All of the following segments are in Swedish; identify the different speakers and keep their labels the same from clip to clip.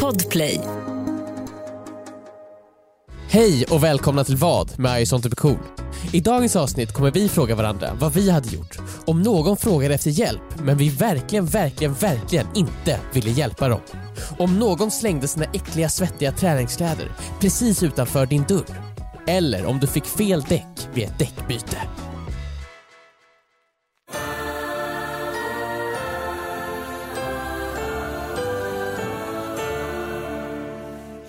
Speaker 1: Podplay.
Speaker 2: Hej och välkomna till Vad med I sånt typ cool. I dagens avsnitt kommer vi fråga varandra vad vi hade gjort om någon frågade efter hjälp men vi verkligen, verkligen, verkligen inte ville hjälpa dem. Om någon slängde sina äckliga svettiga träningskläder precis utanför din dörr. Eller om du fick fel däck vid ett däckbyte.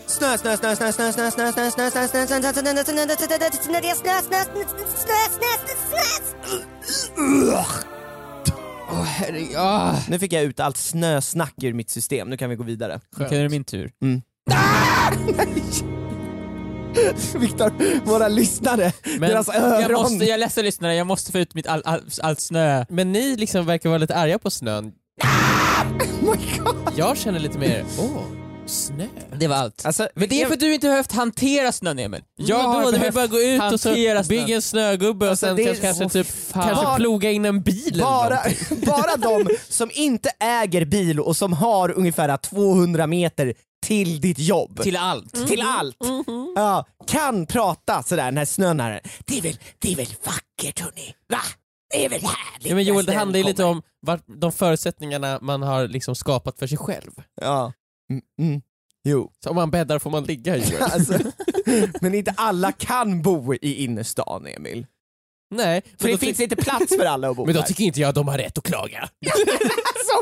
Speaker 3: Snö, snö, snö, snö, snö, snö, snö, snö, snö, snö, snö, snö, snö, snö, snö, snö, snö, snö, snö, snö, det är snö, snö, snö, snö, snö, snö, snö. Nu fick jag ut allt snösnack ur mitt system, nu kan vi gå vidare.
Speaker 4: Okej, nu är det min tur.
Speaker 3: Viktor, våra lyssnare,
Speaker 4: Men jag, måste, jag är ledsen lyssnare, jag måste få ut mitt allt all, all snö.
Speaker 2: Men ni liksom verkar vara lite arga på snön.
Speaker 4: Oh
Speaker 2: Jag känner lite mer, åh, snö.
Speaker 4: Det var allt.
Speaker 3: Alltså,
Speaker 4: Men det är för att du inte behövt hantera snön Emil.
Speaker 2: Jag har behövt
Speaker 4: bara gå ut
Speaker 2: hantera snön.
Speaker 4: bygga en snögubbe
Speaker 2: Och sen
Speaker 3: det är-
Speaker 2: kanske, kanske
Speaker 3: åh,
Speaker 2: typ
Speaker 3: Var-
Speaker 2: kanske ploga in en bil eller
Speaker 3: bara,
Speaker 2: någonting.
Speaker 3: bara de som inte äger bil och som har ungefär 200 meter till ditt jobb.
Speaker 4: till allt.
Speaker 3: till allt. Ja, kan prata sådär när snön är här. Det är väl, det är väl vackert hörni? Va? Det är väl härligt
Speaker 2: Ja, men Joel,
Speaker 3: när
Speaker 2: det
Speaker 3: snön
Speaker 2: handlar ju lite
Speaker 3: kommer.
Speaker 2: om vart, de förutsättningarna man har liksom skapat för sig själv.
Speaker 3: Ja. Mm, mm. Jo.
Speaker 2: Så om man bäddar får man ligga Joel.
Speaker 3: Alltså, men inte alla kan bo i innerstan Emil.
Speaker 2: Nej,
Speaker 3: För
Speaker 2: men då,
Speaker 3: det finns
Speaker 2: ty-
Speaker 3: inte plats för alla att bo
Speaker 2: men då
Speaker 3: där.
Speaker 2: tycker inte jag att de har rätt att klaga.
Speaker 3: Alltså,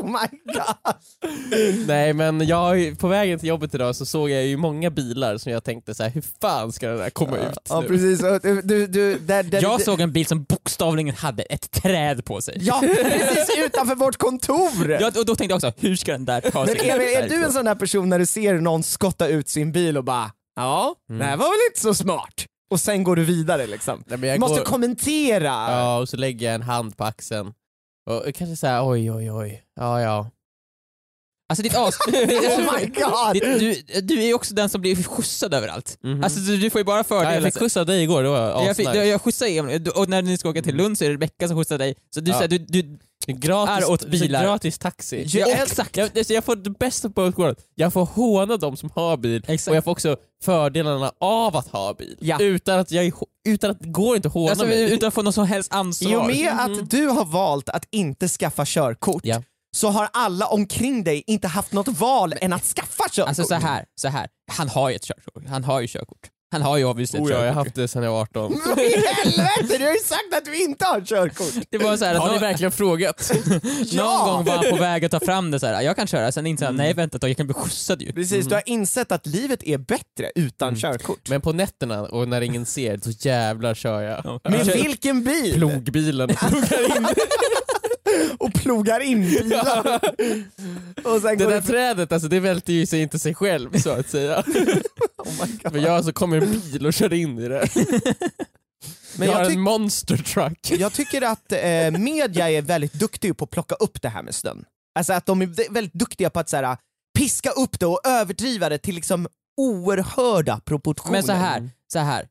Speaker 3: oh my god!
Speaker 2: Nej men jag, har ju- på vägen till jobbet idag så såg jag ju många bilar som jag tänkte så här: hur fan ska den där komma ut
Speaker 3: Ja
Speaker 2: nu?
Speaker 3: precis, Och du, du, du, där, där,
Speaker 4: Jag
Speaker 3: du-
Speaker 4: såg en bil som bokstavligen hade ett träd på sig.
Speaker 3: Ja, precis utanför vårt kontor!
Speaker 4: Ja, och då tänkte jag också, hur ska den där ta
Speaker 3: Men
Speaker 4: sig
Speaker 3: Emil, är du
Speaker 4: därifrån?
Speaker 3: en sån där person när du ser någon skotta ut sin bil och bara ja,
Speaker 4: Mm.
Speaker 3: det här var väl inte så smart? Och sen går du vidare liksom.
Speaker 2: Nej, men
Speaker 3: Du
Speaker 2: jag
Speaker 3: måste
Speaker 2: går-
Speaker 3: kommentera!
Speaker 2: Ja, och så lägger jag en hand på axeln. Och kanske såhär, oj oj oj, ja ja.
Speaker 4: Alltså ditt as...
Speaker 3: Oh my god!
Speaker 4: ditt, du, du är ju också den som blir skjutsad överallt. Alltså du, du får ju bara
Speaker 2: Mhm. ja
Speaker 4: fördelar.
Speaker 2: jag fick skjuts av dig igår, det var
Speaker 4: jag, fick,
Speaker 2: asnice. Mm.
Speaker 4: jag skjutsade Emil, Du- och när ni ska åka till Lund så är det Rebecka som skjutsar dig. Så du,
Speaker 2: Ja.
Speaker 4: så här, du, du
Speaker 2: Gratis,
Speaker 4: är åt
Speaker 2: så
Speaker 4: bilar.
Speaker 2: gratis taxi.
Speaker 4: Ja,
Speaker 2: jag,
Speaker 4: exakt.
Speaker 2: Jag, alltså, jag får det bästa på world. Jag får håna de som har bil och jag får också fördelarna av att ha bil.
Speaker 4: Ja.
Speaker 2: Utan att jag är, hå- utan att det går inte att håna
Speaker 4: alltså,
Speaker 2: mig.
Speaker 4: utan att få någon som Mm. helst ansvar.
Speaker 3: I och med att du har valt att inte skaffa körkort
Speaker 2: Ja.
Speaker 3: så har alla omkring dig inte haft något val än att skaffa körkort.
Speaker 4: Alltså så här, så här. han har ju ett körkort. Han har ju körkort. Han har ju obviously ett
Speaker 2: Oh, ja, jag har
Speaker 4: körkort.
Speaker 2: haft det sedan jag var 18.
Speaker 3: Vad i helvete, du har ju sagt att du inte har körkort!
Speaker 4: Det var så här, att
Speaker 2: Har ni
Speaker 4: någon,
Speaker 2: verkligen frågat?
Speaker 3: Ja!
Speaker 4: någon gång var han på väg att ta fram det så här. jag kan köra, sen insåg han,
Speaker 2: Mm.
Speaker 4: nej vänta ett tag, jag kan bli skjutsad ju.
Speaker 3: Precis, du har insett att livet är bättre utan
Speaker 4: Mm.
Speaker 3: körkort.
Speaker 2: Men på nätterna och när ingen ser så jävlar kör jag.
Speaker 3: Med
Speaker 4: Alltså-
Speaker 3: vilken bil!
Speaker 2: Plogbilen.
Speaker 3: och plogar in bilar. och sen
Speaker 2: Det
Speaker 3: går
Speaker 2: där
Speaker 3: det...
Speaker 2: trädet alltså, det välter ju sig inte sig själv så att säga.
Speaker 3: Oh my God.
Speaker 2: För jag alltså kom i en bil och körde in i det.
Speaker 3: Men
Speaker 2: jag,
Speaker 3: jag,
Speaker 2: har
Speaker 3: tyck-
Speaker 2: en monster truck.
Speaker 3: jag tycker att eh, media är väldigt duktig på att plocka upp det här med snön. Alltså att de är vä- väldigt duktiga på att så här, piska upp det och överdriva det till liksom oerhörda proportioner.
Speaker 4: Men så här, så här.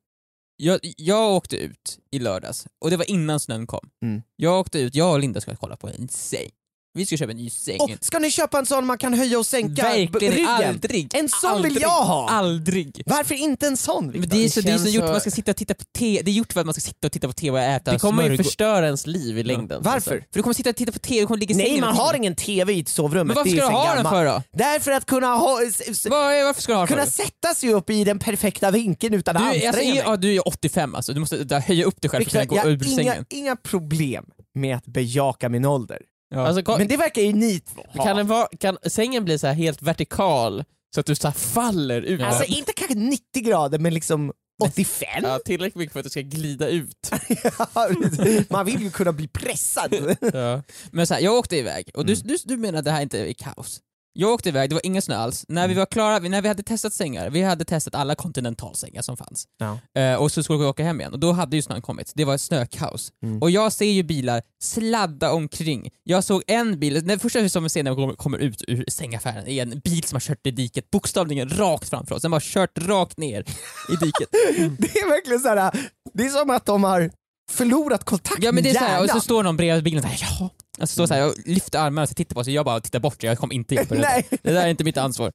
Speaker 4: Jag, jag åkte ut i lördags, och det var innan snön kom.
Speaker 3: Mm.
Speaker 4: Jag åkte ut, jag och Linda ska kolla på en säng. Vi ska köpa en ny säng.
Speaker 3: Åh, ska ni köpa en sån man kan höja och sänka b-
Speaker 4: Verkligen
Speaker 3: ryggen?
Speaker 4: aldrig!
Speaker 3: En sån
Speaker 4: aldrig,
Speaker 3: vill jag ha!
Speaker 4: Aldrig!
Speaker 3: Varför inte en sån
Speaker 4: Men
Speaker 3: Viktor?
Speaker 4: det är så, det är
Speaker 2: känns
Speaker 4: så gjort för
Speaker 2: så-
Speaker 4: att man ska sitta och titta på te. det är gjort för att man ska sitta och titta på TV och äta
Speaker 2: Det kommer ju
Speaker 4: smörgå-
Speaker 2: förstöra ens liv i längden.
Speaker 3: Varför?
Speaker 4: För du kommer sitta och titta på TV, du kommer ligga i sängen
Speaker 3: Nej man
Speaker 4: hela tiden.
Speaker 3: har ingen TV i sovrummet,
Speaker 4: Men varför
Speaker 3: det är
Speaker 4: ska du
Speaker 3: sen
Speaker 4: ha den
Speaker 3: gammalt.
Speaker 4: för då?
Speaker 3: Därför att kunna ha... s- s-
Speaker 4: Vad är- varför ska du ha den
Speaker 3: kunna
Speaker 4: för?
Speaker 3: sätta sig upp i den perfekta vinkeln utan att
Speaker 4: Du, är-
Speaker 3: anstränga
Speaker 4: alltså,
Speaker 3: mig.
Speaker 4: är- ja, du är 85 alltså, du måste där, höja upp dig själv
Speaker 3: Viktor,
Speaker 4: för att kunna
Speaker 3: jag
Speaker 4: gå
Speaker 3: har
Speaker 4: ur
Speaker 3: inga,
Speaker 4: sängen.
Speaker 3: inga problem med att bejaka min ålder.
Speaker 4: Ja.
Speaker 2: Alltså, kom,
Speaker 3: Men det verkar ju ni två ha.
Speaker 2: Kan, den vara, kan sängen bli så här helt vertikal så att du så här faller ut?
Speaker 3: Alltså inte kanske 90 grader men liksom 85?
Speaker 2: ja, tillräckligt mycket för att du ska glida ut.
Speaker 3: Man vill ju kunna bli pressad.
Speaker 2: ja.
Speaker 4: Men så här, jag åkte iväg, och du, du, du menar att det här inte är kaos? Jag åkte iväg, det var ingen snö alls. När vi var klara, vi- när vi hade testat sängar, vi hade testat alla kontinentalsängar som fanns.
Speaker 3: Ja.
Speaker 4: Eh, och så skulle vi åka hem igen, och då hade ju snön kommit. Det var ett snökaos. Och jag ser ju bilar sladda omkring. Jag såg en bil, det första som vi ser när vi kommer- kommer ut ur sängaffären är en bil som har kört i diket, bokstavligen rakt framför oss. Den bara kört rakt ner i diket.
Speaker 3: Det är verkligen så här. det är som att de har förlorat kontakt
Speaker 4: Ja men det är
Speaker 3: med
Speaker 4: såhär, och så
Speaker 3: hjärnan.
Speaker 4: står någon bredvid bilen och bara ja. Jag står såhär och lyfter armarna och så tittar på sig. Jag bara tittar bort, jag kom inte hjälpa dig.
Speaker 3: Nej.
Speaker 4: Det där är inte mitt ansvar.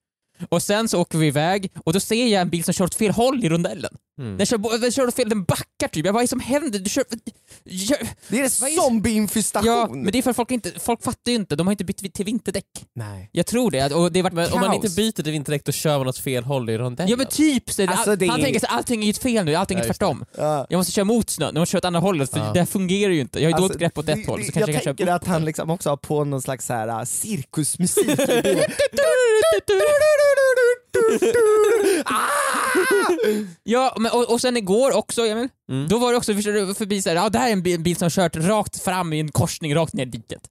Speaker 4: Och sen så åker vi iväg och då ser jag en bil som kör åt fel håll i rondellen.
Speaker 2: Mm.
Speaker 4: Den, kör, bo- den kör åt fel, den backar typ. Jag bara, vad är det som händer? Du kör... Gör...
Speaker 3: Det är en
Speaker 4: Vad är-
Speaker 3: zombieinfestation!
Speaker 4: Ja, men det är för att folk, inte, folk fattar ju inte. De har inte bytt vi- till vinterdäck.
Speaker 3: Nej.
Speaker 4: Jag tror det. Och det har varit
Speaker 2: Men
Speaker 4: kaos.
Speaker 2: om man inte byter till vinterdäck då kör man åt fel håll i rondellen.
Speaker 4: Ja men typ! Så är det,
Speaker 3: Alltså, det
Speaker 4: Han
Speaker 3: är-
Speaker 4: tänker så här, allting är ju fel nu, allting är
Speaker 2: Ja, just
Speaker 4: tvärtom.
Speaker 3: Ja.
Speaker 4: Jag måste köra mot snön, jag måste köra åt andra hållet för
Speaker 2: Ja.
Speaker 4: det här fungerar ju inte. Jag har ju
Speaker 3: Alltså,
Speaker 4: dåligt grepp åt
Speaker 3: det-
Speaker 4: ett håll
Speaker 3: det-
Speaker 4: så kanske jag kan
Speaker 3: tänker
Speaker 4: köra
Speaker 3: att han liksom också har på någon slags så här, äh, cirkusmusik. Ah! i bilen.
Speaker 4: Ja, men, och, och sen igår också Emil,
Speaker 2: Mm.
Speaker 4: då var det också förstår du, förbi såhär, ja det här är en bil, bil som har kört rakt fram i en korsning rakt ner i diket.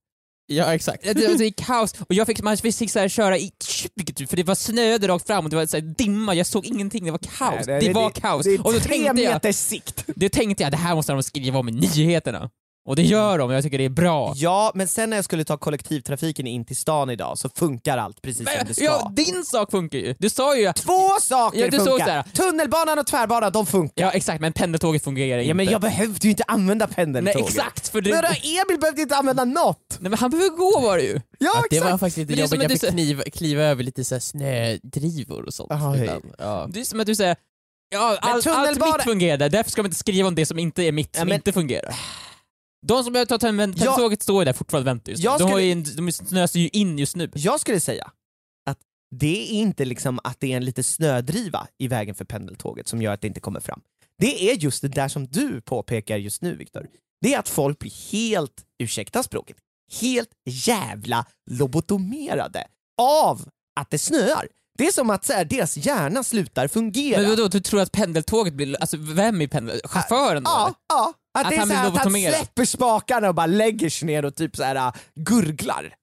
Speaker 2: Ja, exakt.
Speaker 4: Det, det, det är kaos och jag fick, man fick såhär, köra i 20 typ, för det var snöde rakt fram och det var såhär, dimma, jag såg ingenting, det var
Speaker 3: Nej,
Speaker 4: kaos. det, var kaos.
Speaker 3: Det
Speaker 4: och då
Speaker 3: är tre
Speaker 4: tänkte jag,
Speaker 3: meters sikt.
Speaker 4: det tänkte jag, det här måste de skriva om i nyheterna. Och det gör de, jag tycker det är bra.
Speaker 3: Ja, men sen när jag skulle ta kollektivtrafiken in till stan idag så funkar allt precis som det ska.
Speaker 4: Ja, din sak funkar ju! Du sa ju...
Speaker 3: Två saker
Speaker 4: Ja, du såg så
Speaker 3: funkar!
Speaker 4: här.
Speaker 3: Tunnelbanan och tvärbanan, de funkar.
Speaker 4: Ja exakt, men pendeltåget fungerar
Speaker 3: Ja,
Speaker 4: inte.
Speaker 3: men jag behövde ju inte använda
Speaker 4: Nej
Speaker 3: pendeltåget.
Speaker 4: exakt, för du...
Speaker 3: Men då,
Speaker 4: Nej,
Speaker 3: Emil behövde inte använda något!
Speaker 4: men han behöver gå var det ju.
Speaker 3: Ja,
Speaker 2: Att det
Speaker 3: exakt!
Speaker 2: var faktiskt
Speaker 4: Men
Speaker 2: lite
Speaker 4: det är som
Speaker 2: jobbigt, jag
Speaker 4: att du
Speaker 2: fick kniva, kliva över lite så här snödrivor och Mm. sånt.
Speaker 3: Aha, hej.
Speaker 2: ibland. ja.
Speaker 4: Det är som att du säger ja,
Speaker 3: Men
Speaker 4: all, allt
Speaker 3: tunnelbana-
Speaker 4: mitt fungerade, därför ska man inte skriva om det som inte är mitt, som
Speaker 3: men-
Speaker 4: inte fungerar. De som behöver ta tunneln-
Speaker 3: Jag-
Speaker 4: pendeltåget står ju där fortfarande och väntar just nu.
Speaker 3: Jag
Speaker 4: De, har
Speaker 3: skulle-
Speaker 4: ju en, de snöser ju in just nu.
Speaker 3: Jag skulle säga att det är inte liksom att det är en lite snödriva i vägen för pendeltåget som gör att det inte kommer fram. Det är just det där som du påpekar just nu Viktor. Det är att folk blir helt, ursäkta språket, helt jävla lobotomerade av att det snöar. Det är som att så här, deras hjärna slutar fungera.
Speaker 4: Men vadå, du tror att pendeltåget blir... Alltså vem är pendel... Chauffören då?
Speaker 3: Äh, Ja,
Speaker 4: eller?
Speaker 3: ja. Att,
Speaker 4: Att
Speaker 3: det är
Speaker 4: han
Speaker 3: så
Speaker 4: blir
Speaker 3: här, att han
Speaker 4: lobotomerad.
Speaker 3: släpper spakarna och bara lägger sig ner och typ så här, äh, gurglar.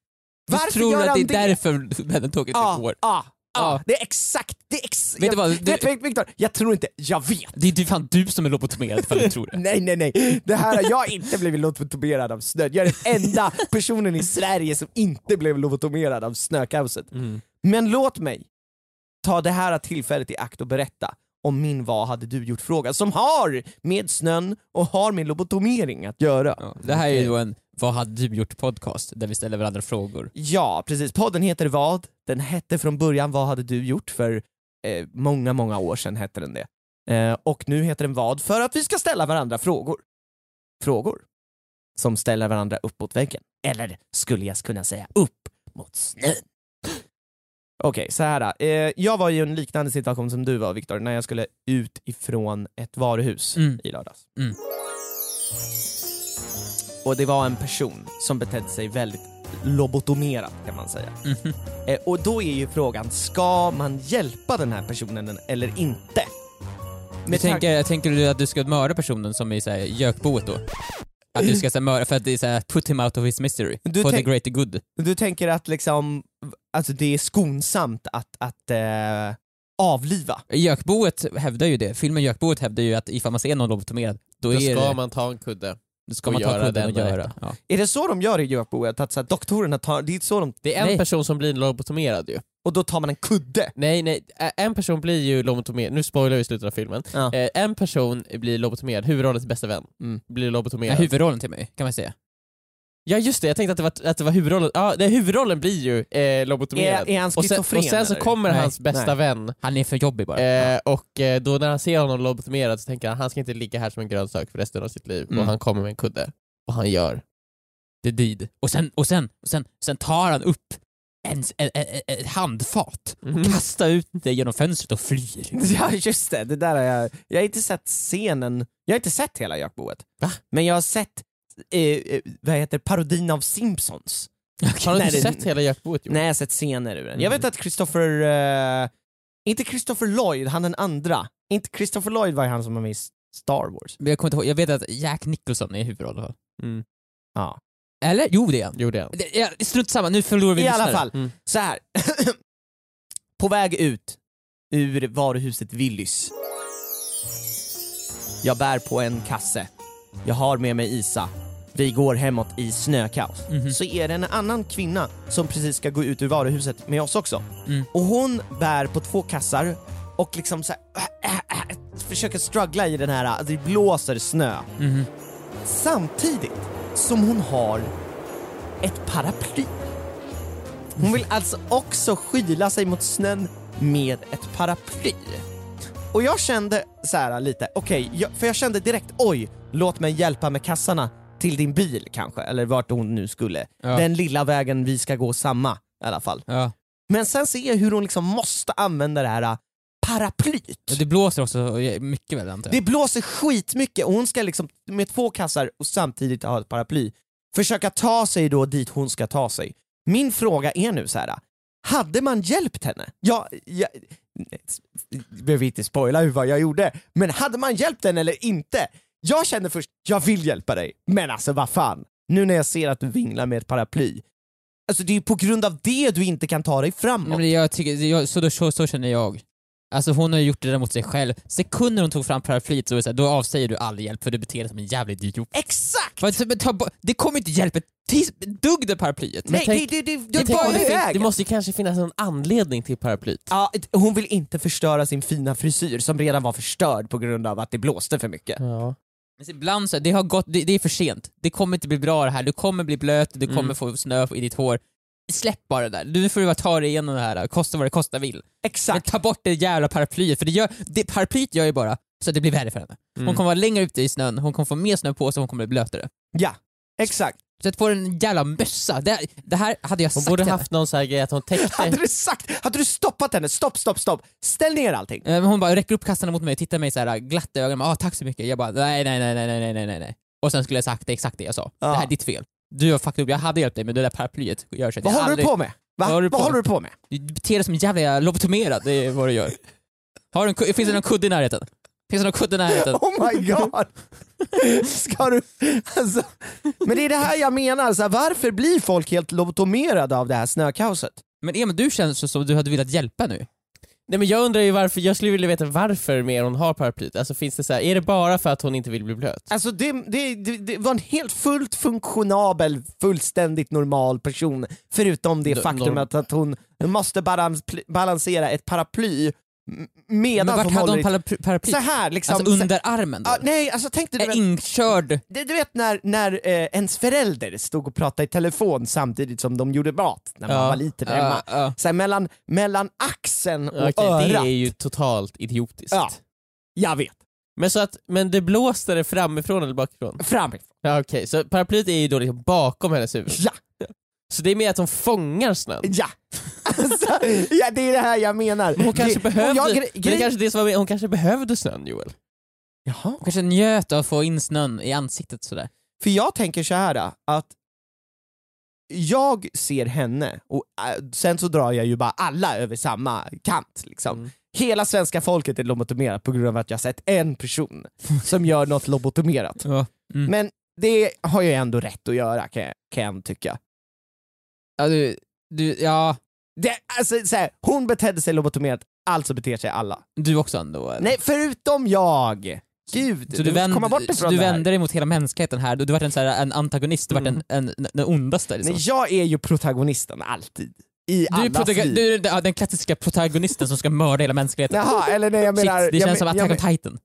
Speaker 3: Varför
Speaker 4: Du tror
Speaker 3: gör
Speaker 4: att det
Speaker 3: han
Speaker 4: är därför pendeltåget
Speaker 3: Ja,
Speaker 4: inte går?
Speaker 3: ja, ja.
Speaker 4: Typ Ja.
Speaker 3: Det är exakt, det är ex-
Speaker 4: Vet du
Speaker 3: jag,
Speaker 4: vad,
Speaker 3: vet du, Viktor, jag tror inte, jag vet.
Speaker 4: Det är ju fan du som är lobotomerad för att du tror det.
Speaker 3: Nej, nej, nej. Det här har jag inte blivit lobotomerad av snö. Jag är den enda personen i Sverige som inte blev lobotomerad av snökaoset.
Speaker 2: Mm.
Speaker 3: Men låt mig ta det här tillfället i akt och berätta om min vad hade du gjort-fråga som har med snön och har med lobotomering att göra.
Speaker 4: Ja, det här är ju då en Vad hade du gjort podcast där vi ställer varandra frågor.
Speaker 3: Ja, precis. Podden heter vad? Den hette från början Vad hade du gjort? För eh, många, många år sedan hette den det. Eh, och nu heter den vad? För att vi ska ställa varandra frågor. Frågor som ställer varandra upp mot väggen. Eller skulle jag kunna säga upp mot snön. Okej, så här. då. Eh, jag var i en liknande situation som du var Viktor, när jag skulle ut ifrån ett varuhus
Speaker 4: Mm.
Speaker 3: i lördags.
Speaker 4: Mm.
Speaker 3: Och det var en person som betedde sig väldigt lobotomerat kan man säga.
Speaker 4: Mm.
Speaker 3: Eh, och då är ju frågan, ska man hjälpa den här personen eller inte?
Speaker 4: Men
Speaker 3: Med tanke-
Speaker 4: tänker, tänker du att du ska mörda personen som är så här, gökboet då? Att du ska så här, mörda för att det är så här, put him out of his misery.
Speaker 3: Du
Speaker 4: for the
Speaker 3: tänk-
Speaker 4: greater good.
Speaker 3: Du tänker att liksom, alltså det är skonsamt att, att eh, avliva?
Speaker 4: Gökboet hävdar ju det. Filmen Gökboet hävdar ju att ifall man ser någon lobotomerad, då,
Speaker 2: Då
Speaker 4: är
Speaker 2: ska
Speaker 4: det,
Speaker 2: man ta en kudde.
Speaker 4: då ska
Speaker 2: och
Speaker 4: man ta
Speaker 2: göra
Speaker 4: kudden och
Speaker 2: det enda
Speaker 4: göra.
Speaker 2: rätta.
Speaker 4: Ja.
Speaker 3: Är det så de gör i Gökboet? Att så här, doktorerna tar, det är så de,
Speaker 2: Det är en
Speaker 4: Nej.
Speaker 2: person som blir lobotomerad ju.
Speaker 3: och då tar man en kudde?
Speaker 2: Nej, nej, ä- en person blir ju lobotomerad, nu spoilar vi i slutet av filmen.
Speaker 3: Ja.
Speaker 2: Eh, en person blir lobotomerad, huvudrollens bästa vän,
Speaker 3: Mm.
Speaker 2: blir
Speaker 4: Ja,
Speaker 2: lobotomerad. Ja,
Speaker 4: huvudrollen till mig, kan man säga.
Speaker 2: just det, jag tänkte att det var, att det var huvudrollen, ja det, huvudrollen blir ju eh, lobotomerad.
Speaker 3: Är, är han
Speaker 2: och, sen,
Speaker 3: schizofren?
Speaker 2: och sen så
Speaker 3: eller?
Speaker 2: kommer
Speaker 4: Nej,
Speaker 2: hans bästa
Speaker 3: nej.
Speaker 2: vän
Speaker 4: Han är för jobbig bara.
Speaker 2: Eh, och eh, då när han ser honom lobotomerad så tänker han han ska inte ligga här som en grönsak för resten av sitt liv.
Speaker 4: Mm.
Speaker 2: Och han kommer med en kudde. Och han gör.
Speaker 3: Mm.
Speaker 4: The deed. Och sen, och sen, och sen, sen tar han upp en, en, en, en, ett handfat och
Speaker 2: Mhm.
Speaker 4: kastar ut det genom fönstret och flyr.
Speaker 3: Ja just det, det där har jag, jag har inte sett scenen, jag har inte sett hela Gökboet.
Speaker 2: Va?
Speaker 3: Men jag har sett, eh, eh, vad heter parodin av Simpsons.
Speaker 2: Har du
Speaker 3: Nej,
Speaker 2: inte
Speaker 3: det-
Speaker 2: sett hela jaktboet Johan?
Speaker 3: Nej jag har sett scener ur den. Jag
Speaker 2: Mm.
Speaker 3: vet att Christopher, eh, inte Christopher Lloyd, han den andra. Inte Christopher Lloyd var ju han som var med i Star Wars.
Speaker 4: Men jag kommer inte ihåg, jag vet att Jack Nicholson är huvudrollen.
Speaker 2: Mm.
Speaker 3: Ja.
Speaker 4: Eller? Jo det är han.
Speaker 2: Gjorde han.
Speaker 4: Det- ja, Strunt samma, nu förlorar vi
Speaker 3: I alla
Speaker 4: lyssnare.
Speaker 3: fall,
Speaker 2: Mm.
Speaker 3: så här. På väg ut ur varuhuset Willys. Jag bär på en kasse. Jag har med mig Isa. Vi går hemåt i snökaos.
Speaker 4: Mhm.
Speaker 3: Så är det en annan kvinna som precis ska gå ut ur varuhuset med oss också.
Speaker 4: Mm.
Speaker 3: Och hon bär på två kassar och liksom så här, äh, äh, äh, försöker struggla i den här, alltså det blåser snö.
Speaker 4: Mhm.
Speaker 3: Samtidigt som hon har ett paraply. Hon vill alltså också skyla sig mot snön med ett paraply. Och jag kände så här lite, okej, jag- för jag kände direkt oj, låt mig hjälpa med kassarna till din bil kanske, eller vart hon nu skulle.
Speaker 4: Ja.
Speaker 3: Den lilla vägen vi ska gå samma i alla fall.
Speaker 4: Ja.
Speaker 3: Men sen ser jag hur hon liksom måste använda det här äh, paraplyt.
Speaker 4: Och Det blåser också mycket väl antar jag.
Speaker 3: Det blåser skitmycket och hon ska liksom med två kassar och samtidigt ha ett paraply försöka ta sig då dit hon ska ta sig. Min fråga är nu så här. hade man hjälpt henne? Jag, jag nej, s- behöver inte spoila hur vad jag gjorde, men hade man hjälpt henne eller inte? Jag kände först, jag vill hjälpa dig, men alltså vad fan, nu när jag ser att du vinglar med ett paraply. Alltså det är ju på grund av det du inte kan ta dig framåt.
Speaker 4: Nej, men jag tycker, jag, så, då- så, så känner jag. Alltså hon har gjort det där mot sig själv. Sekunder hon tog fram paraplyet så, var det så här, då avsäger du all hjälp för du beter dig som en jävlig idiot.
Speaker 3: Exakt!
Speaker 4: Vad- så- men ta bort- Det kommer inte hjälpa ett tis- dugg det paraplyet.
Speaker 3: Nej,
Speaker 2: tänk-
Speaker 3: det, det, det,
Speaker 2: Jag
Speaker 3: det
Speaker 2: tänker
Speaker 3: var
Speaker 2: att det,
Speaker 3: ju
Speaker 2: fin- det
Speaker 3: vägen.
Speaker 2: måste ju kanske finnas en anledning till paraplyet.
Speaker 3: Ja, ett- hon vill inte förstöra sin fina frisyr som redan var förstörd på grund av att det blåste för mycket.
Speaker 2: Ja.
Speaker 4: Men ibland så, det har gått, det, det är för sent. Det kommer inte bli bra det här, du kommer bli blöt, du
Speaker 3: Mm.
Speaker 4: kommer få snö i ditt hår. Släpp bara det där, nu får du bara ta dig igenom det här, kosta vad det kosta vill. Men
Speaker 3: Exakt.
Speaker 4: ta bort det jävla paraplyet, för det gör, det, paraplyet gör ju bara så att det blir värre för henne. Hon
Speaker 2: Mm.
Speaker 4: kommer vara längre ute i snön, hon kommer få mer snö på sig, hon kommer bli blötare.
Speaker 3: Ja, exakt.
Speaker 4: Sätt på dig en jävla mössa, det, det här hade jag
Speaker 2: Hon
Speaker 4: sagt
Speaker 2: borde
Speaker 4: henne.
Speaker 2: haft någon sån här grej att hon
Speaker 3: Hade
Speaker 2: täckte...
Speaker 3: du sagt, hade du stoppat henne, stopp, stopp, stopp, ställ ner allting.
Speaker 4: Eh, men Hon bara räcker upp kassarna mot mig och tittar mig så här glatt i ögonen, ah, tack så mycket. Jag bara nej, nej, nej, nej, nej, nej, nej, nej, nej. Och sen skulle jag sagt det, exakt det jag sa. Det här
Speaker 3: Ja.
Speaker 4: är ditt fel. Du har fuckat upp, jag hade hjälpt dig men det där paraplyet gör så att
Speaker 3: Vad
Speaker 4: jag
Speaker 3: håller
Speaker 4: aldrig-
Speaker 3: du på med? Va?
Speaker 4: Vad håller du på
Speaker 3: Vad håller
Speaker 4: med?
Speaker 3: du på med?
Speaker 4: Du beter dig som en jävla lobotomerad, det är vad du gör. Har du en, ku- finns det någon kudde i närheten? Finns det någon kudde i närheten?
Speaker 3: Oh my god! Ska du... Alltså... Men det är det här jag menar, så här, varför blir folk helt lobotomerade av det här snökaoset?
Speaker 4: Men Emil, du känns så som du hade velat hjälpa nu.
Speaker 2: Nej men jag undrar ju varför, jag skulle vilja veta varför mer hon har paraplyet. Alltså finns det så här, är det bara för att hon inte vill bli blöt?
Speaker 3: Alltså det, det, det, det var en helt fullt funktionabel, fullständigt normal person. Förutom det
Speaker 2: N-
Speaker 3: faktum
Speaker 2: norm-
Speaker 3: att, att hon måste balans, pl- balansera ett paraply m-
Speaker 4: Men
Speaker 3: medan
Speaker 4: vart
Speaker 3: hon
Speaker 4: hade
Speaker 3: håller
Speaker 4: hon
Speaker 3: i...
Speaker 4: paraply? paraply?
Speaker 3: Så här liksom.
Speaker 4: Alltså under armen då?
Speaker 3: Ah, nej, alltså tänk dig, du
Speaker 4: Är
Speaker 3: vet,
Speaker 4: inkörd?
Speaker 3: du, du vet när, när eh, ens förälder stod och pratade i telefon samtidigt som de gjorde mat när man
Speaker 2: Ja.
Speaker 3: var liten
Speaker 4: Ja,
Speaker 3: hemma.
Speaker 4: ja.
Speaker 3: Så här, mellan, mellan axeln och
Speaker 2: Okej, det
Speaker 3: örat.
Speaker 2: är ju totalt idiotiskt.
Speaker 3: Ja. Jag vet.
Speaker 2: Men så att, men det blåste det framifrån eller bakifrån?
Speaker 3: Framifrån.
Speaker 2: Ja, Okej, så paraplyet är ju då liksom bakom hennes huvud.
Speaker 3: Ja.
Speaker 2: Så det är mer att hon fångar snön?
Speaker 3: Ja. Alltså, ja, det är det här jag menar.
Speaker 2: Hon kanske,
Speaker 3: det,
Speaker 2: behövde,
Speaker 3: och jag gre-
Speaker 2: men det
Speaker 3: grej-
Speaker 2: är kanske det som var med, hon kanske behövde snön Joel.
Speaker 3: Jaha.
Speaker 4: Hon kanske njöt av att få in snön i ansiktet sådär.
Speaker 3: För jag tänker så här att jag ser henne och äh, sen så drar jag ju bara alla över samma kant liksom.
Speaker 2: Mm.
Speaker 3: Hela svenska folket är lobotomerat på grund av att jag sett en person som gör något lobotomerat.
Speaker 4: Ja. Mm.
Speaker 3: Men det har jag ändå rätt att göra kan jag, kan jag tycka.
Speaker 4: Ja, du, du, ja,
Speaker 3: Det, alltså, så här, hon betedde sig lobotomerat, alltså beter sig alla.
Speaker 4: du också ändå. eller?
Speaker 3: Nej, förutom jag! Gud,
Speaker 4: Så du,
Speaker 3: du måste
Speaker 4: vänd,
Speaker 3: komma bort
Speaker 4: så
Speaker 3: ifrån
Speaker 4: du
Speaker 3: det här. Mm.
Speaker 4: vänder dig mot hela mänskligheten här, du, du vart en, så här, en antagonist, du vart en, en, den ondaste liksom.
Speaker 3: Nej, jag är ju protagonisten alltid. I
Speaker 4: Du är,
Speaker 3: allas
Speaker 4: protaga-
Speaker 3: liv.
Speaker 4: du är den- ja, den klassiska protagonisten som ska mörda hela mänskligheten.
Speaker 3: Jaha, eller nej jag
Speaker 4: Shit,
Speaker 3: menar...
Speaker 4: det
Speaker 3: jag men-
Speaker 4: känns som
Speaker 3: jag
Speaker 4: Attack on
Speaker 3: men-
Speaker 4: Titan.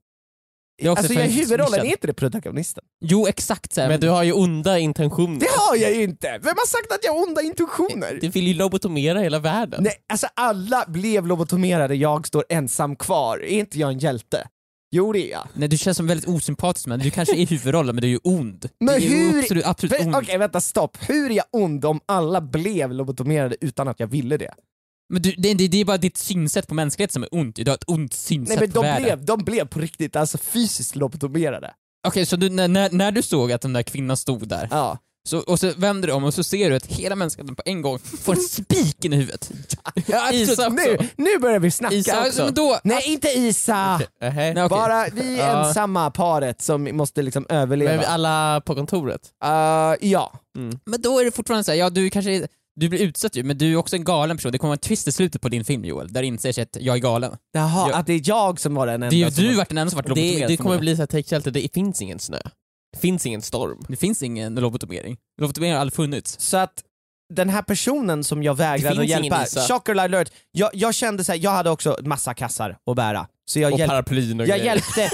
Speaker 4: Det är också
Speaker 3: Alltså jag är
Speaker 4: för-
Speaker 3: huvudrollen,
Speaker 4: nischad.
Speaker 3: är inte det protagonisten?
Speaker 4: Jo, exakt så här.
Speaker 2: Men du har ju onda intentioner.
Speaker 3: Det har jag ju inte! Vem har sagt att jag har onda intentioner?
Speaker 2: Du vill ju lobotomera hela världen.
Speaker 3: Nej, alltså alla blev lobotomerade, jag står ensam kvar. Är inte jag en hjälte? Jo det är jag.
Speaker 4: Nej, du känns som väldigt osympatisk men du kanske är huvudrollen men du är ju ond.
Speaker 3: Men
Speaker 4: du är ju
Speaker 3: hur-
Speaker 4: absolut, absolut
Speaker 3: Vä-
Speaker 4: ond.
Speaker 3: Okej vänta, stopp. Hur är jag ond om alla blev lobotomerade utan att jag ville det?
Speaker 4: Men du, det, det, det är bara ditt synsätt på mänskligheten som är ont. Du har ett ont synsätt
Speaker 3: Nej men
Speaker 4: på
Speaker 3: de
Speaker 4: världen.
Speaker 3: blev, de blev på riktigt alltså fysiskt lobotomerade.
Speaker 4: Okej, så du, när, när, när du såg att den där kvinnan stod där,
Speaker 3: Ja.
Speaker 4: så, och så vänder du om och så ser du att hela mänskligheten på en gång får en spik i huvudet.
Speaker 3: ja
Speaker 4: Isa
Speaker 3: så
Speaker 4: också.
Speaker 3: Alltså, nu, nu börjar vi snacka
Speaker 4: Isa
Speaker 3: också.
Speaker 4: också. Men då,
Speaker 3: Nej inte Isa!
Speaker 2: Nähä.
Speaker 4: Nej, okej.
Speaker 3: Bara vi
Speaker 2: Ja.
Speaker 3: ensamma paret som måste liksom överleva.
Speaker 2: Men alla på kontoret?
Speaker 3: Eh, ja.
Speaker 4: Men då är det fortfarande så här, ja du kanske du blir utsatt ju, men du är också en galen person. Det kommer vara en twist i slutet på din film Joel, där det inser sig att jag är galen.
Speaker 3: Jaha,
Speaker 4: Ja.
Speaker 3: att det är jag som var den enda
Speaker 4: Det är ju
Speaker 3: som
Speaker 4: du varit den enda som varit
Speaker 2: Det,
Speaker 4: lobotomerad.
Speaker 2: det kommer bli så här techhjälte, det finns ingen snö. Det finns ingen storm.
Speaker 4: det finns ingen lobotomering. Lobotomering har aldrig funnits.
Speaker 3: Så att den här personen som jag vägrade
Speaker 2: Det
Speaker 3: att
Speaker 2: finns ingen
Speaker 3: hjälpa,
Speaker 2: Lisa.
Speaker 3: shocker alert, jag, jag kände såhär, jag hade också massa kassar att bära. Så jag,
Speaker 2: Och
Speaker 3: hjälp,
Speaker 2: paraplyn och
Speaker 3: jag
Speaker 2: grejer.
Speaker 3: hjälpte...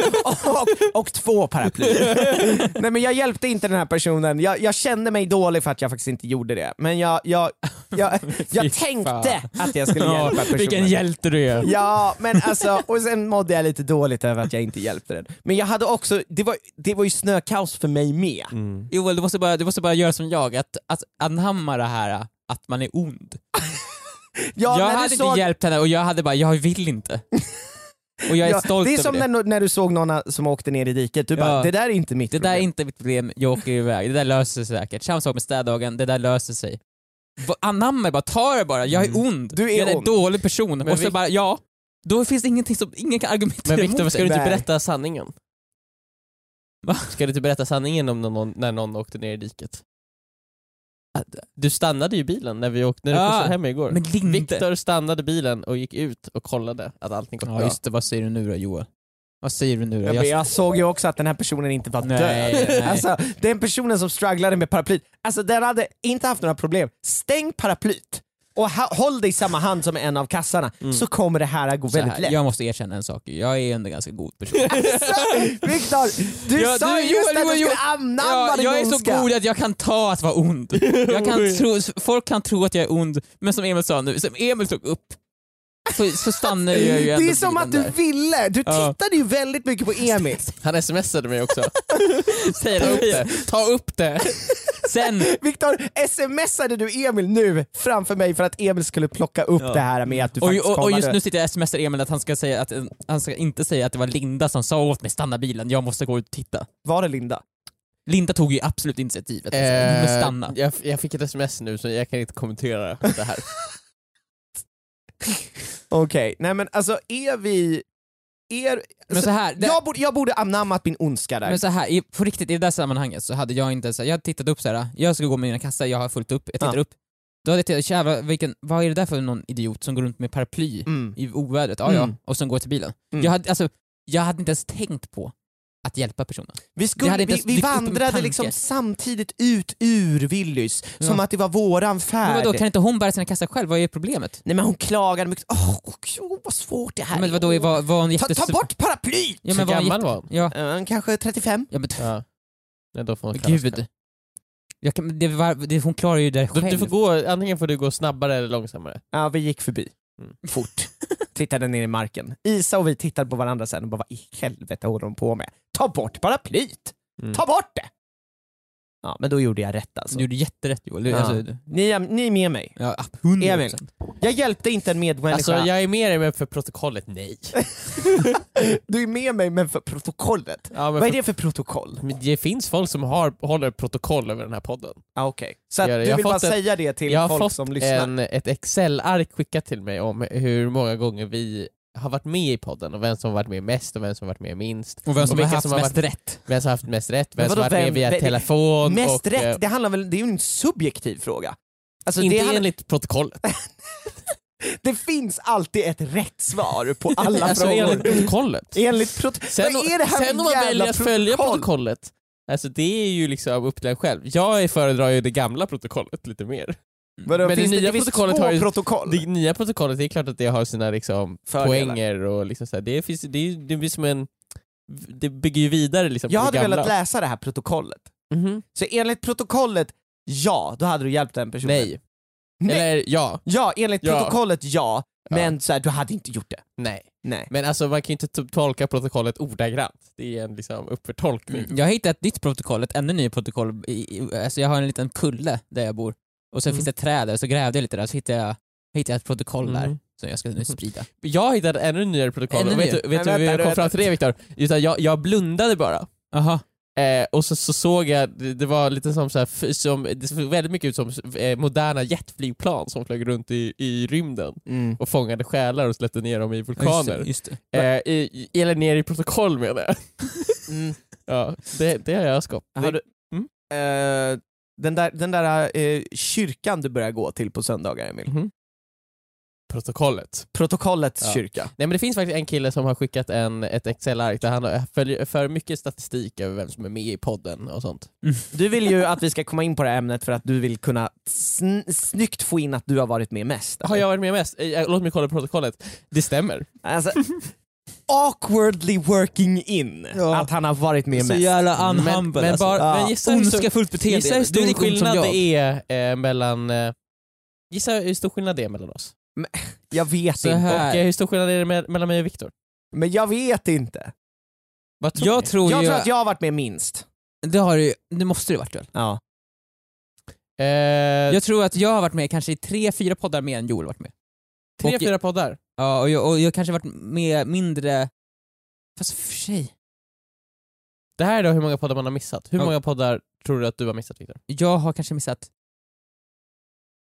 Speaker 3: och, och två paraplyer. Nej men jag hjälpte inte den här personen, jag, jag kände mig dålig för att jag faktiskt inte gjorde det. Men jag, jag, jag, jag
Speaker 2: Fy fan.
Speaker 3: tänkte att jag skulle hjälpa personen.
Speaker 2: Vilken hjälte du är.
Speaker 3: Ja, men alltså, och sen mådde jag lite dåligt över att jag inte hjälpte den. Men jag hade också, det var, det var ju snökaos för mig med.
Speaker 4: Joel, du måste, bara, du måste bara göra som jag, att, att anamma det här att man är ond. jag
Speaker 3: Ja, när du
Speaker 4: hade
Speaker 3: såg-
Speaker 4: inte hjälpt henne och jag hade bara, jag vill inte. Och jag är
Speaker 3: ja,
Speaker 4: stolt
Speaker 3: Det är
Speaker 4: över
Speaker 3: som
Speaker 4: det.
Speaker 3: När, när du såg någon som åkte ner i diket, du
Speaker 4: Ja.
Speaker 3: bara, det där är inte mitt
Speaker 4: Det där
Speaker 3: problem.
Speaker 4: är inte mitt problem, jag åker iväg. Det där löser sig säkert. Samma sak med städdagen, det där löser sig. Va- Anamma det bara, ta det bara, jag är ond.
Speaker 3: Mm. Du är
Speaker 4: jag är en
Speaker 3: ond.
Speaker 4: dålig person. och så
Speaker 2: Vic-
Speaker 4: bara, ja. Då finns det ingenting som, ingen kan argumentera
Speaker 2: Men Viktor,
Speaker 4: emot.
Speaker 2: ska du inte
Speaker 3: Nej.
Speaker 2: berätta sanningen?
Speaker 4: Va?
Speaker 2: Ska du inte berätta sanningen om när någon, när någon åkte ner i diket? Att- Du stannade ju bilen när vi åkte, när du
Speaker 4: Ja,
Speaker 2: skjutsade hem igår.
Speaker 4: Men Linde.
Speaker 2: Viktor stannade bilen och gick ut och kollade att allting gått
Speaker 4: Ja
Speaker 2: bra.
Speaker 4: just det, vad säger du nu då Joel? Vad säger du nu då?
Speaker 3: Ja, men jag såg ju också att den här personen inte var
Speaker 4: Nej,
Speaker 3: död.
Speaker 4: nej.
Speaker 3: Alltså, den personen som strugglade med paraplyt, alltså den hade inte haft några problem. Stäng paraplyt och ha, håll dig i samma hand som en av kassarna så kommer det här att gå
Speaker 4: Mm. så
Speaker 3: väldigt
Speaker 4: här,
Speaker 3: lätt.
Speaker 4: jag måste erkänna en sak, jag är en ganska god person.
Speaker 3: Alltså, Viktor, du
Speaker 4: Ja,
Speaker 3: sa
Speaker 4: du-
Speaker 3: ju
Speaker 4: Joel,
Speaker 3: just att
Speaker 4: Joel,
Speaker 3: du skulle
Speaker 4: Joel.
Speaker 3: anamma
Speaker 4: Ja,
Speaker 3: din
Speaker 4: jag är så
Speaker 3: ondska.
Speaker 4: god att jag kan ta att vara ond. Jag kan tro, folk kan tro att jag är ond, men som Emil sa nu, som Emil tog upp, så, så stannar jag ju ändå
Speaker 3: Det är som
Speaker 4: bilen
Speaker 3: att du
Speaker 4: där.
Speaker 3: ville, du
Speaker 4: Ja.
Speaker 3: tittade ju väldigt mycket på Emil.
Speaker 2: Han smsade mig också.
Speaker 4: säger
Speaker 2: Ta upp
Speaker 4: det.
Speaker 2: det. Ta upp det.
Speaker 4: Sen,
Speaker 3: Viktor, smsade du Emil nu framför mig för att Emil skulle plocka upp det här med att du
Speaker 4: och,
Speaker 3: faktiskt
Speaker 4: och, och
Speaker 3: kollade?
Speaker 4: just nu sitter jag och smsar Emil att han ska, säga att, han ska inte säga att det var Linda som sa åt mig stanna bilen, jag måste gå ut och titta.
Speaker 3: Var det Linda?
Speaker 4: Linda tog ju absolut initiativet, alltså, men stanna.
Speaker 2: Eh, jag, jag fick ett sms nu så jag kan inte kommentera det här.
Speaker 3: Okej, nej men alltså är vi... Är,
Speaker 4: Men så här, det,
Speaker 3: jag, borde, jag borde anammat min ondska där.
Speaker 4: Men så här, i, på riktigt, i det där sammanhanget så hade jag inte så här, jag hade tittat upp så här. jag ska gå med mina kassar, jag har fullt upp, jag tittar
Speaker 3: Ja.
Speaker 4: upp. Då hade jag tittat, jävlar, vilken, vad är det där för någon idiot som går runt med paraply
Speaker 3: mm.
Speaker 4: i ovädret? Ja, ja,
Speaker 3: Mm.
Speaker 4: och som går till bilen.
Speaker 3: Mm.
Speaker 4: Jag, hade, alltså, jag hade inte ens tänkt på att hjälpa personen.
Speaker 3: Vi,
Speaker 4: det
Speaker 3: skulle,
Speaker 4: hade inte
Speaker 3: vi,
Speaker 4: ens
Speaker 3: vi
Speaker 4: dykt upp i min
Speaker 3: vandrade
Speaker 4: tanke.
Speaker 3: liksom samtidigt ut ur Willys,
Speaker 4: Ja.
Speaker 3: som att det var våran
Speaker 4: Men
Speaker 3: färd.
Speaker 4: vadå, kan inte hon bära sina kassar själv? Vad är problemet?
Speaker 3: Nej men hon klagade mycket, åh oh, vad svårt det här
Speaker 4: Men
Speaker 3: är.
Speaker 4: vadå, var, var hon
Speaker 3: ta,
Speaker 4: jättes...
Speaker 3: ta bort paraplyt!
Speaker 4: Ja,
Speaker 2: så
Speaker 4: var hon
Speaker 2: gammal
Speaker 4: jätte-
Speaker 2: var hon?
Speaker 4: Ja,
Speaker 3: Eh, kanske 35?
Speaker 4: ja men
Speaker 2: Ja. Nej, då får hon kalla sig själv.
Speaker 4: gud. Jag kan, det var, det, hon klarar ju det
Speaker 2: Du,
Speaker 4: själv.
Speaker 2: du får gå, antingen får du gå snabbare eller långsammare.
Speaker 3: Ja, vi gick förbi.
Speaker 2: Mm.
Speaker 3: Fort. tittade ner i marken. Isa och vi tittade på varandra sen och bara, vad i helvete håller de på med? Ta bort paraplyt!
Speaker 2: Mm.
Speaker 3: Ta bort det! Ja, men då gjorde jag rätt alltså.
Speaker 4: Du gjorde jätterätt Joel. Du,
Speaker 3: Ja.
Speaker 4: Alltså,
Speaker 3: Ni, är, ni är med mig.
Speaker 4: ja, 100%.
Speaker 3: Emil. Jag hjälpte inte en medmänniska.
Speaker 2: Alltså jag är med dig men för protokollet, nej.
Speaker 3: Du är med mig men för protokollet.
Speaker 2: Ja, men
Speaker 3: Vad är det för protokoll?
Speaker 2: Men det finns folk som har, håller protokoll över den här podden.
Speaker 3: Ah, Okej. Så att
Speaker 2: Gör det.
Speaker 3: du
Speaker 2: Jag
Speaker 3: vill
Speaker 2: har
Speaker 3: bara
Speaker 2: fått ett-
Speaker 3: säga det till
Speaker 2: Jag har
Speaker 3: folk
Speaker 2: fått
Speaker 3: som lyssnar?
Speaker 2: en, ett Excel-ark skickat till mig om hur många gånger vi har varit med i podden och vem som har varit med mest och vem som har varit med minst.
Speaker 4: Och vem som har
Speaker 2: vilka
Speaker 4: haft
Speaker 2: som har
Speaker 4: mest rätt.
Speaker 2: Vem som har haft mest rätt, vem
Speaker 3: Men
Speaker 2: som har
Speaker 3: vadå,
Speaker 2: varit med
Speaker 3: vem-
Speaker 2: via
Speaker 3: vem-
Speaker 2: telefon
Speaker 3: Mest
Speaker 2: och... eh,
Speaker 3: rätt, det handlar väl, det är ju en subjektiv fråga. Alltså,
Speaker 2: inte
Speaker 3: det, handlar-
Speaker 2: enligt protokollet.
Speaker 3: det finns alltid ett rätt svar på alla
Speaker 2: Alltså
Speaker 3: frågor.
Speaker 2: enligt protokollet.
Speaker 3: Enligt prot...
Speaker 2: Sen,
Speaker 3: Vad är det här
Speaker 2: sen
Speaker 3: för
Speaker 2: om man
Speaker 3: jävla
Speaker 2: väljer att följa
Speaker 3: protokoll?
Speaker 2: protokollet, alltså det är ju liksom upp till en själv. Jag föredrar ju det gamla protokollet lite mer.
Speaker 3: Vadå,
Speaker 2: Mm. Men det
Speaker 3: finns det,
Speaker 2: nya
Speaker 3: det finns
Speaker 2: protokollet
Speaker 3: två
Speaker 2: har ju-
Speaker 3: protokoll.
Speaker 2: Det nya protokollet, det är klart att det har sina liksom
Speaker 3: Fördelar.
Speaker 2: poänger och liksom så här. Det, finns, det, är, det blir som en... Det bygger ju vidare liksom
Speaker 3: Jag
Speaker 2: på
Speaker 3: hade
Speaker 2: det gamla.
Speaker 3: velat läsa det här protokollet.
Speaker 2: Mhm.
Speaker 3: Så enligt protokollet, ja, då hade du hjälpt den personen.
Speaker 2: Nej.
Speaker 3: Nej.
Speaker 2: Eller ja.
Speaker 3: Ja, enligt
Speaker 2: Ja.
Speaker 3: protokollet ja,
Speaker 2: Ja.
Speaker 3: men så här, du hade inte gjort det.
Speaker 2: Nej.
Speaker 3: Nej.
Speaker 2: Men alltså man kan ju inte to- tolka protokollet ordagrant. Det är en liksom uppförtolkning.
Speaker 4: Mm. Jag har hittat ett nytt protokoll, ett ännu nytt protokoll. I, i- alltså jag har en liten kulle där jag bor. Och så
Speaker 2: Mm.
Speaker 4: finns det ett träd där, så grävde jag lite där, så hittade jag, hittade jag ett protokoll där
Speaker 2: Mm.
Speaker 4: som jag ska nu sprida.
Speaker 2: Jag hittade ännu nyare protokoll.
Speaker 4: Ännu
Speaker 2: och vet
Speaker 4: nyare?
Speaker 2: du,
Speaker 3: Men
Speaker 2: vet du hur
Speaker 3: vänta,
Speaker 2: jag kom
Speaker 3: vänta.
Speaker 2: fram till det Viktor? Utan jag, jag blundade bara.
Speaker 4: Aha.
Speaker 2: Eh, och så, så såg jag, det det var lite som, så här, f- som det såg väldigt mycket ut som eh, moderna jetflygplan som flög runt i, i rymden
Speaker 3: Mm.
Speaker 2: och fångade själar och släppte ner dem i
Speaker 4: Just det,
Speaker 2: vulkaner.
Speaker 4: just det.
Speaker 2: Eh, i, i, eller ner i protokoll menar jag.
Speaker 3: Mm.
Speaker 2: Ja, det, det Mm. har jag skapat.
Speaker 3: Har du, eh, den där, den där eh, kyrkan du börjar gå till på söndagar Emil,
Speaker 2: Mhm. Protokollet.
Speaker 3: protokollets
Speaker 2: Ja.
Speaker 3: kyrka.
Speaker 2: Nej men det finns faktiskt en kille som har skickat en, ett Excel-ark där han har- följer för mycket statistik över vem som är med i podden och sånt.
Speaker 3: Du vill ju att vi ska komma in på det här ämnet för att du vill kunna sn- snyggt få in att du har varit med mest.
Speaker 2: Har jag varit med mest? Eh, Låt mig kolla protokollet. Det stämmer.
Speaker 3: Alltså, awkwardly working in
Speaker 4: Ja. Alltså,
Speaker 3: att han har varit med
Speaker 4: Så
Speaker 3: mest.
Speaker 4: jävla unhumble
Speaker 2: Men, men,
Speaker 4: alltså.
Speaker 2: bara,
Speaker 3: Ja.
Speaker 2: men gissa hur stor,
Speaker 4: Ondskefullt beteende.
Speaker 2: gissa
Speaker 4: Du
Speaker 2: hur
Speaker 4: är
Speaker 2: stor
Speaker 4: lika ond som
Speaker 2: skillnad
Speaker 4: jag.
Speaker 2: det är eh, mellan... Eh, gissa hur stor skillnad det är mellan oss.
Speaker 3: Jag vet
Speaker 4: Så
Speaker 3: inte.
Speaker 4: här.
Speaker 2: Och eh, hur stor skillnad är det me- mellan mig och Viktor?
Speaker 3: Men jag vet inte.
Speaker 2: Vad tror
Speaker 4: Jag
Speaker 2: ni?
Speaker 4: tror
Speaker 3: jag
Speaker 4: ju...
Speaker 3: tror att jag har varit med minst.
Speaker 4: Det, har du, det måste det varit väl?
Speaker 3: Ja.
Speaker 2: Eh,
Speaker 4: Jag tror att jag har varit med kanske i tre, fyra poddar mer än Joel varit med.
Speaker 2: tre,
Speaker 4: och-
Speaker 2: fyra poddar.
Speaker 4: Ja, och jag, och jag kanske varit med mindre... Fast för sig.
Speaker 2: Det här är då hur många poddar man har missat. Hur
Speaker 4: Ja.
Speaker 2: många poddar tror du att du har missat Viktor?
Speaker 4: Jag har kanske missat...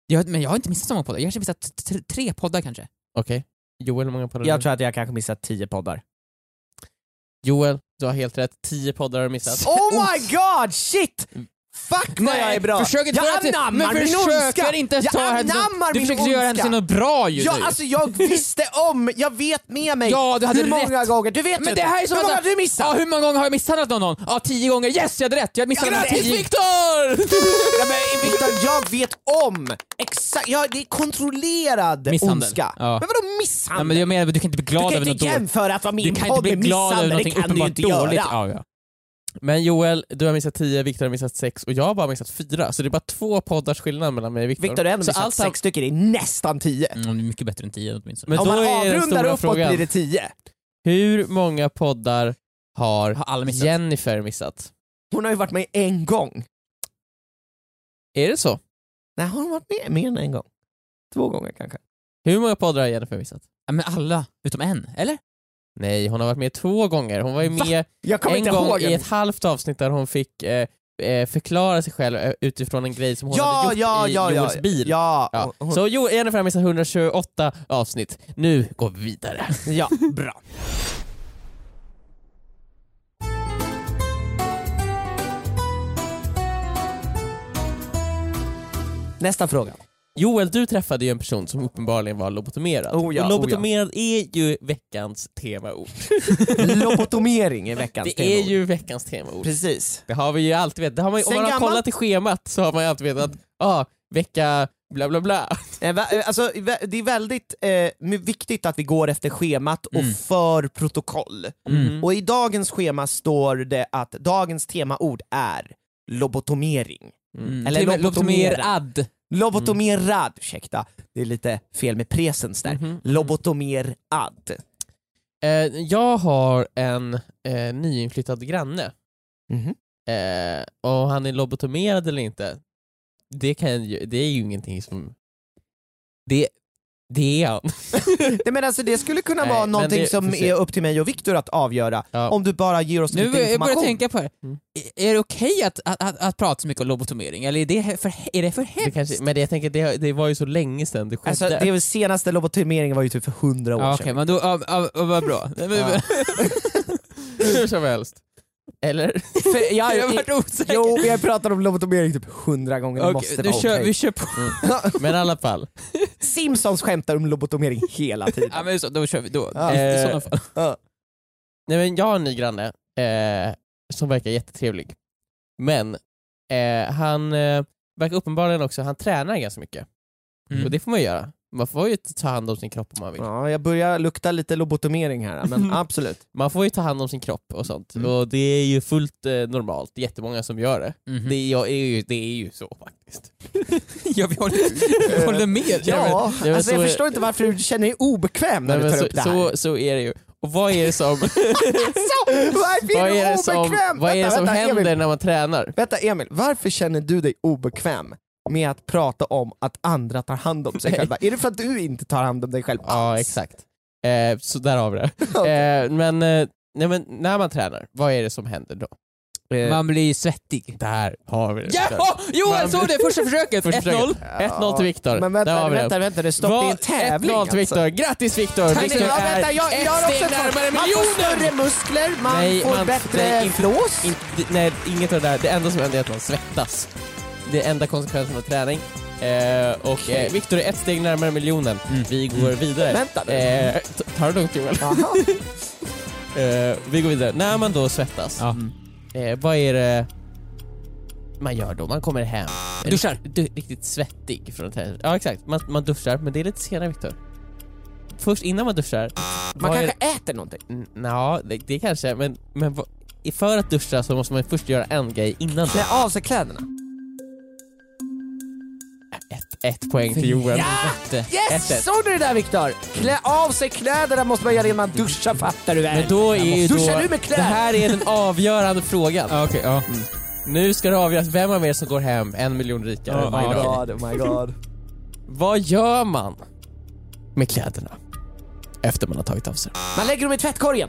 Speaker 4: Jag, men jag har inte missat så många poddar. Jag har kanske missat t- t- tre poddar kanske.
Speaker 2: Okej. Joel, hur många poddar har
Speaker 3: Jag
Speaker 2: du?
Speaker 3: tror att jag kanske missat tio poddar.
Speaker 2: Joel, du har helt rätt. Tio poddar har du missat.
Speaker 3: Oh my god, shit! Fuck vad
Speaker 4: Nej,
Speaker 3: jag är bra!
Speaker 4: Försök inte
Speaker 3: jag
Speaker 4: göra till-
Speaker 3: anammar
Speaker 4: men
Speaker 3: min ondska!
Speaker 4: försöker inte
Speaker 3: Jag
Speaker 4: ta henne...
Speaker 3: anammar
Speaker 4: Du
Speaker 3: min
Speaker 4: försöker göra henne
Speaker 3: ondska.
Speaker 4: till något bra ju
Speaker 3: Ja,
Speaker 4: nu.
Speaker 3: alltså jag visste om, jag vet med mig
Speaker 4: Ja, du hade
Speaker 3: hur många
Speaker 4: rätt.
Speaker 3: gånger, du vet
Speaker 4: Men
Speaker 3: ju
Speaker 4: det
Speaker 3: inte.
Speaker 4: här är som
Speaker 3: Hur
Speaker 4: att-
Speaker 3: många har du missat?
Speaker 4: Ja, hur många gånger har jag misshandlat någon? Ja, tio gånger. Yes, jag hade rätt! Jag hade misshandlat
Speaker 3: Grattis,
Speaker 4: tio...
Speaker 2: Viktor!
Speaker 3: Ja, men Viktor, jag vet om! Exakt, ja, det är kontrollerad
Speaker 4: Misshandel.
Speaker 3: ondska.
Speaker 4: Ja.
Speaker 3: Men vadå
Speaker 4: Ja,
Speaker 3: misshandel?
Speaker 4: men jag menar, du kan inte bli
Speaker 3: du
Speaker 4: glad
Speaker 3: kan
Speaker 4: över något
Speaker 3: inte
Speaker 4: dåligt.
Speaker 3: jämföra att vara
Speaker 4: Du
Speaker 3: min
Speaker 4: kan inte
Speaker 3: podd
Speaker 4: bli
Speaker 3: med
Speaker 4: glad över
Speaker 3: misshandel, det
Speaker 4: någonting
Speaker 3: kan du ju
Speaker 4: uppenbart
Speaker 3: inte
Speaker 4: dåligt. Ja,
Speaker 3: göra.
Speaker 4: ja.
Speaker 2: Men Joel, du har missat tio, Viktor har missat sex och jag har bara missat fyra. Så det är bara två poddars skillnad mellan mig och Viktor.
Speaker 3: Viktor har ändå
Speaker 2: Så
Speaker 3: missat
Speaker 2: allt han-
Speaker 3: sex stycken, det är nästan tio.
Speaker 4: Mm, det är mycket bättre än tio åtminstone.
Speaker 2: Men
Speaker 3: Om
Speaker 2: då
Speaker 3: man
Speaker 2: är den
Speaker 3: avrundar
Speaker 2: stora
Speaker 3: uppåt
Speaker 2: frågan.
Speaker 3: blir det tio.
Speaker 2: Hur många poddar har
Speaker 4: Har alla missat?
Speaker 2: Jennifer missat?
Speaker 3: Hon har ju varit med en gång.
Speaker 2: Är det så?
Speaker 3: Nej, har hon varit med mer än en gång? Två gånger kanske.
Speaker 2: Hur många poddar har Jennifer missat?
Speaker 4: Ja, men alla, utom en, eller?
Speaker 2: Nej, hon har varit med två gånger. Hon var ju
Speaker 3: Va?
Speaker 2: med
Speaker 3: Jag kommer
Speaker 2: en
Speaker 3: inte
Speaker 2: gång
Speaker 3: ihåg.
Speaker 2: i
Speaker 3: en-
Speaker 2: ett halvt avsnitt där hon fick eh, eh, förklara sig själv eh, utifrån en grej som hon
Speaker 3: Ja,
Speaker 2: hade gjort
Speaker 3: ja,
Speaker 2: i
Speaker 3: ja,
Speaker 2: Joels
Speaker 3: ja.
Speaker 2: bil.
Speaker 3: Ja,
Speaker 2: Ja.
Speaker 3: hon-
Speaker 2: Så jo, Jennifer har missat 128 avsnitt. Nu går vi vidare.
Speaker 3: ja, bra. Nästa fråga.
Speaker 2: Joel, du träffade ju en person som uppenbarligen var lobotomerad.
Speaker 3: Oh ja,
Speaker 2: och
Speaker 3: oh ja.
Speaker 2: lobotomerad är ju veckans temaord.
Speaker 3: Lobotomering är veckans
Speaker 2: Det är
Speaker 3: tema.
Speaker 2: ju veckans temaord.
Speaker 3: Precis.
Speaker 2: Det har vi ju alltid vetat. Det har man, ju- om
Speaker 3: Sen
Speaker 2: man har
Speaker 3: gammalt.
Speaker 2: kollat i schemat så har man ju alltid vetat att ah, vecka bla bla bla.
Speaker 3: Eh, va- eh, Alltså, vä- det är väldigt eh, my- viktigt att vi går efter schemat och
Speaker 4: Mm.
Speaker 3: för protokoll.
Speaker 2: Mm.
Speaker 3: Och i dagens schema står det att dagens temaord är lobotomering.
Speaker 4: Mm.
Speaker 3: Eller
Speaker 4: Till och med
Speaker 3: lobotomerad.
Speaker 4: lobotomerad.
Speaker 3: Lobotomerad, ursäkta. Det är lite fel med presens där.
Speaker 2: Mhm.
Speaker 3: Lobotomerad.
Speaker 2: Eh, jag har en eh, nyinflyttad granne
Speaker 3: Mhm.
Speaker 2: eh, och han är lobotomerad eller inte, det, kan ju, det är ju ingenting som... Det, det är han.
Speaker 3: Nej, men alltså, det skulle kunna
Speaker 2: Nej,
Speaker 3: vara
Speaker 2: men
Speaker 3: någonting
Speaker 2: det-
Speaker 3: som
Speaker 2: får se.
Speaker 3: är upp till mig och Viktor att avgöra.
Speaker 2: Ja.
Speaker 3: Om du bara ger oss
Speaker 4: Nu
Speaker 3: lite
Speaker 4: jag börjar
Speaker 3: information.
Speaker 4: tänka på det.
Speaker 2: Mm.
Speaker 4: Är- Är det okej att, att, att, att prata så mycket om lobotomering? Eller är det he- för, är det för hemskt?
Speaker 2: Det kanske, men det, jag tänker, det, det var ju så länge sedan det skedde.
Speaker 3: Alltså, det är väl senaste lobotomeringen var ju typ för hundra år
Speaker 4: Ja, Okej,
Speaker 3: sedan.
Speaker 4: men då, ja, ja, ja, vad bra.
Speaker 2: Ja. Hur som helst. Eller?
Speaker 3: För jag,
Speaker 4: Jag har varit osäker.
Speaker 3: jo, vi har pratat om lobotomering typ hundra gånger, det
Speaker 4: Okej,
Speaker 3: måste
Speaker 4: du
Speaker 3: vara
Speaker 4: kör,
Speaker 3: okej.
Speaker 4: Vi kör på.
Speaker 2: Men i alla fall.
Speaker 3: Simpsons skämtar om lobotomering hela tiden.
Speaker 4: Ja, men så, då kör vi. Då.
Speaker 3: Ja. Eh,
Speaker 4: I, i sådana fall.
Speaker 2: Nej, men jag har en ny granne eh, som verkar jättetrevlig. Men eh, han eh, verkar uppenbarligen också, han tränar ganska mycket.
Speaker 4: Mm.
Speaker 2: Och det får man ju göra. Man får ju ta hand om sin kropp om man vill.
Speaker 3: Ja, jag börjar lukta lite lobotomering här,
Speaker 2: Mm.
Speaker 3: men absolut.
Speaker 2: Man får ju ta hand om sin kropp och sånt.
Speaker 4: Mm.
Speaker 2: Och det är ju fullt eh, normalt, det är jättemånga som gör det.
Speaker 3: Mm.
Speaker 4: Mhm.
Speaker 2: Det, är, jag är ju, det är ju så faktiskt.
Speaker 4: Ja, vi håller, vi håller med.
Speaker 2: men-
Speaker 3: Ja,
Speaker 2: nej, men
Speaker 3: alltså jag
Speaker 2: så-
Speaker 3: förstår inte varför du känner dig obekväm när
Speaker 2: Nej,
Speaker 3: du tar
Speaker 2: men så,
Speaker 3: upp det här.
Speaker 2: så, så är det ju. Och vad är det som,
Speaker 3: Alltså, varför
Speaker 2: vad
Speaker 3: är
Speaker 2: är
Speaker 3: du
Speaker 2: det som,
Speaker 3: obekväm?
Speaker 2: vad är det
Speaker 3: Vänta,
Speaker 2: som
Speaker 3: vänta,
Speaker 2: händer
Speaker 3: Emil.
Speaker 2: när man tränar?
Speaker 3: Vänta Emil, varför känner du dig obekväm med att prata om att andra tar hand om sig
Speaker 2: Nej.
Speaker 3: själva? Är det för att du inte tar hand om dig själv
Speaker 2: Ja,
Speaker 3: alls?
Speaker 2: exakt. Eh, så där har vi det. Eh, men, eh, nej, men när man tränar, vad är det som händer då? Eh,
Speaker 4: Man blir svettig.
Speaker 2: Där har vi det.
Speaker 4: Ja! Jo, jag såg det! Eh, Första försöket!
Speaker 2: Första försöket.
Speaker 4: 1-0.
Speaker 2: 1-0 till Viktor.
Speaker 3: Men vänta,
Speaker 2: Där har vi
Speaker 3: vänta,
Speaker 2: det.
Speaker 3: vänta, det stoppar
Speaker 2: Vad-
Speaker 3: i en tävling
Speaker 2: 1-0 till Viktor.
Speaker 3: alltså.
Speaker 2: Grattis Viktor!
Speaker 3: Nej,
Speaker 2: Viktor
Speaker 3: nej, ja,
Speaker 2: är
Speaker 3: vänta, jag,
Speaker 2: ett
Speaker 3: jag har också
Speaker 2: steg
Speaker 3: ett svar.
Speaker 2: närmare
Speaker 3: Man får
Speaker 2: miljonen!
Speaker 3: större muskler, man
Speaker 2: Nej,
Speaker 3: får
Speaker 2: man-
Speaker 3: bättre
Speaker 2: nej, inte-
Speaker 3: flås.
Speaker 2: Inte- Nej, inget av det där. Det enda som händer är att man svettas. Det är enda konsekvensen av träning. Eh, och
Speaker 3: Okej. Mm.
Speaker 2: eh, Viktor är ett steg närmare miljonen. Vi går vidare.
Speaker 3: Vänta nu.
Speaker 2: Eh, t- ta det lugnt Joel.
Speaker 3: Jaha.
Speaker 2: Eh, vi går vidare. När man då svettas,
Speaker 4: Ja.
Speaker 2: eh, vad är det man gör då? Man kommer hem.
Speaker 4: Duschar.
Speaker 2: Du, riktigt svettig från träningen. Ja exakt, man, man duschar, men det är lite senare Viktor. Först innan man duschar
Speaker 3: Man
Speaker 2: Vad är-
Speaker 3: kanske äter någonting.
Speaker 2: N- Ja, det, det kanske, men, men vad- i- för att duscha så måste man först göra en grej innan det.
Speaker 3: Klä av sig kläderna.
Speaker 2: Ett, ett poäng till Joel.
Speaker 4: Helvete.
Speaker 3: Yes!
Speaker 2: Ett, ett.
Speaker 3: Såg du det där Viktor? Klä av sig kläderna måste man göra innan man duschar fattar du väl?
Speaker 2: Men då är ju då,
Speaker 3: Duschar du med
Speaker 2: det
Speaker 3: kläder?
Speaker 2: här är den avgörande frågan. Mm.
Speaker 4: Ja, okej, ja.
Speaker 2: Nu ska det avgöras vem av er som går hem en miljon rikare
Speaker 4: Ja,
Speaker 2: varje
Speaker 4: ja,
Speaker 2: dag.
Speaker 4: ja.
Speaker 3: oh my god.
Speaker 2: Vad gör man med kläderna efter man har tagit av sig dem?
Speaker 3: Man lägger dem i tvättkorgen.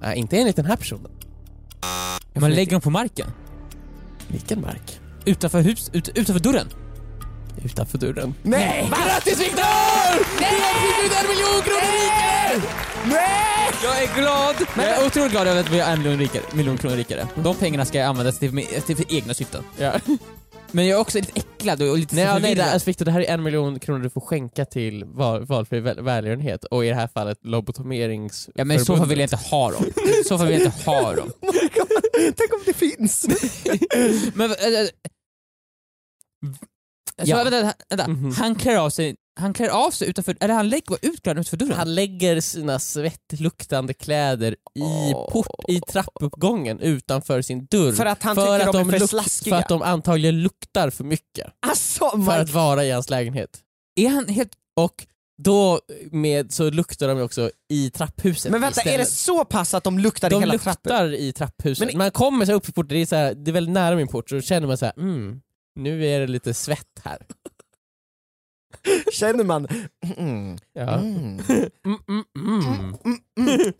Speaker 2: Nej, inte enligt den här personen.
Speaker 4: Man lägger dem på marken.
Speaker 2: Vilken mark?
Speaker 4: Utanför hus, ut, utanför dörren.
Speaker 2: Utanför dörren.
Speaker 3: Nej! Va?
Speaker 2: Grattis Viktor! Du har blivit en miljon kronor rikare!
Speaker 3: Nej!
Speaker 4: Jag är glad! Jag är otroligt glad över att vi är en miljon, rikare, miljon kronor rikare. De pengarna ska jag använda till, min- till för egna syften.
Speaker 2: Ja.
Speaker 4: Men jag är också lite äcklad och lite
Speaker 2: Nej, ja, nej
Speaker 4: förvirrad.
Speaker 2: det, alltså Victor, det här är en miljon kronor du får skänka till val, valfri väl, välgörenhet och i det här fallet lobotomerings...
Speaker 4: Ja men i så fall vill jag inte ha dem. I så fall vill jag inte ha dem.
Speaker 3: Tänk om det finns!
Speaker 4: Men... Äh, äh, så,
Speaker 2: Ja.
Speaker 4: vänta, vänta.
Speaker 2: Mhm.
Speaker 4: Han klär av sig, han klär av sig utanför, eller han lägger ut kläderna utanför dörren.
Speaker 2: Han lägger sina svettluktande kläder i,
Speaker 3: Åh.
Speaker 2: port, i trappuppgången utanför sin dörr.
Speaker 3: För att han
Speaker 2: För
Speaker 3: tycker
Speaker 2: att
Speaker 3: de är för
Speaker 2: luk-
Speaker 3: slaskiga.
Speaker 2: För att de antagligen luktar för mycket
Speaker 3: Alltså,
Speaker 2: för
Speaker 3: my...
Speaker 2: att vara i hans lägenhet.
Speaker 4: Är han helt...
Speaker 2: Och då med, så luktar de ju också i trapphuset
Speaker 3: Men vänta, är det
Speaker 2: istället.
Speaker 3: så pass att de luktar i
Speaker 2: de
Speaker 3: hela
Speaker 2: luktar
Speaker 3: trappen?
Speaker 2: i trapphuset.
Speaker 3: Men-
Speaker 2: Man kommer så här upp i porten, det är, så här, det är väldigt nära min port, så då känner man så här, mm, nu är det lite svett här.
Speaker 3: Känner man... Mm,
Speaker 2: Ja.
Speaker 3: mm.
Speaker 2: Mm, mm, mm.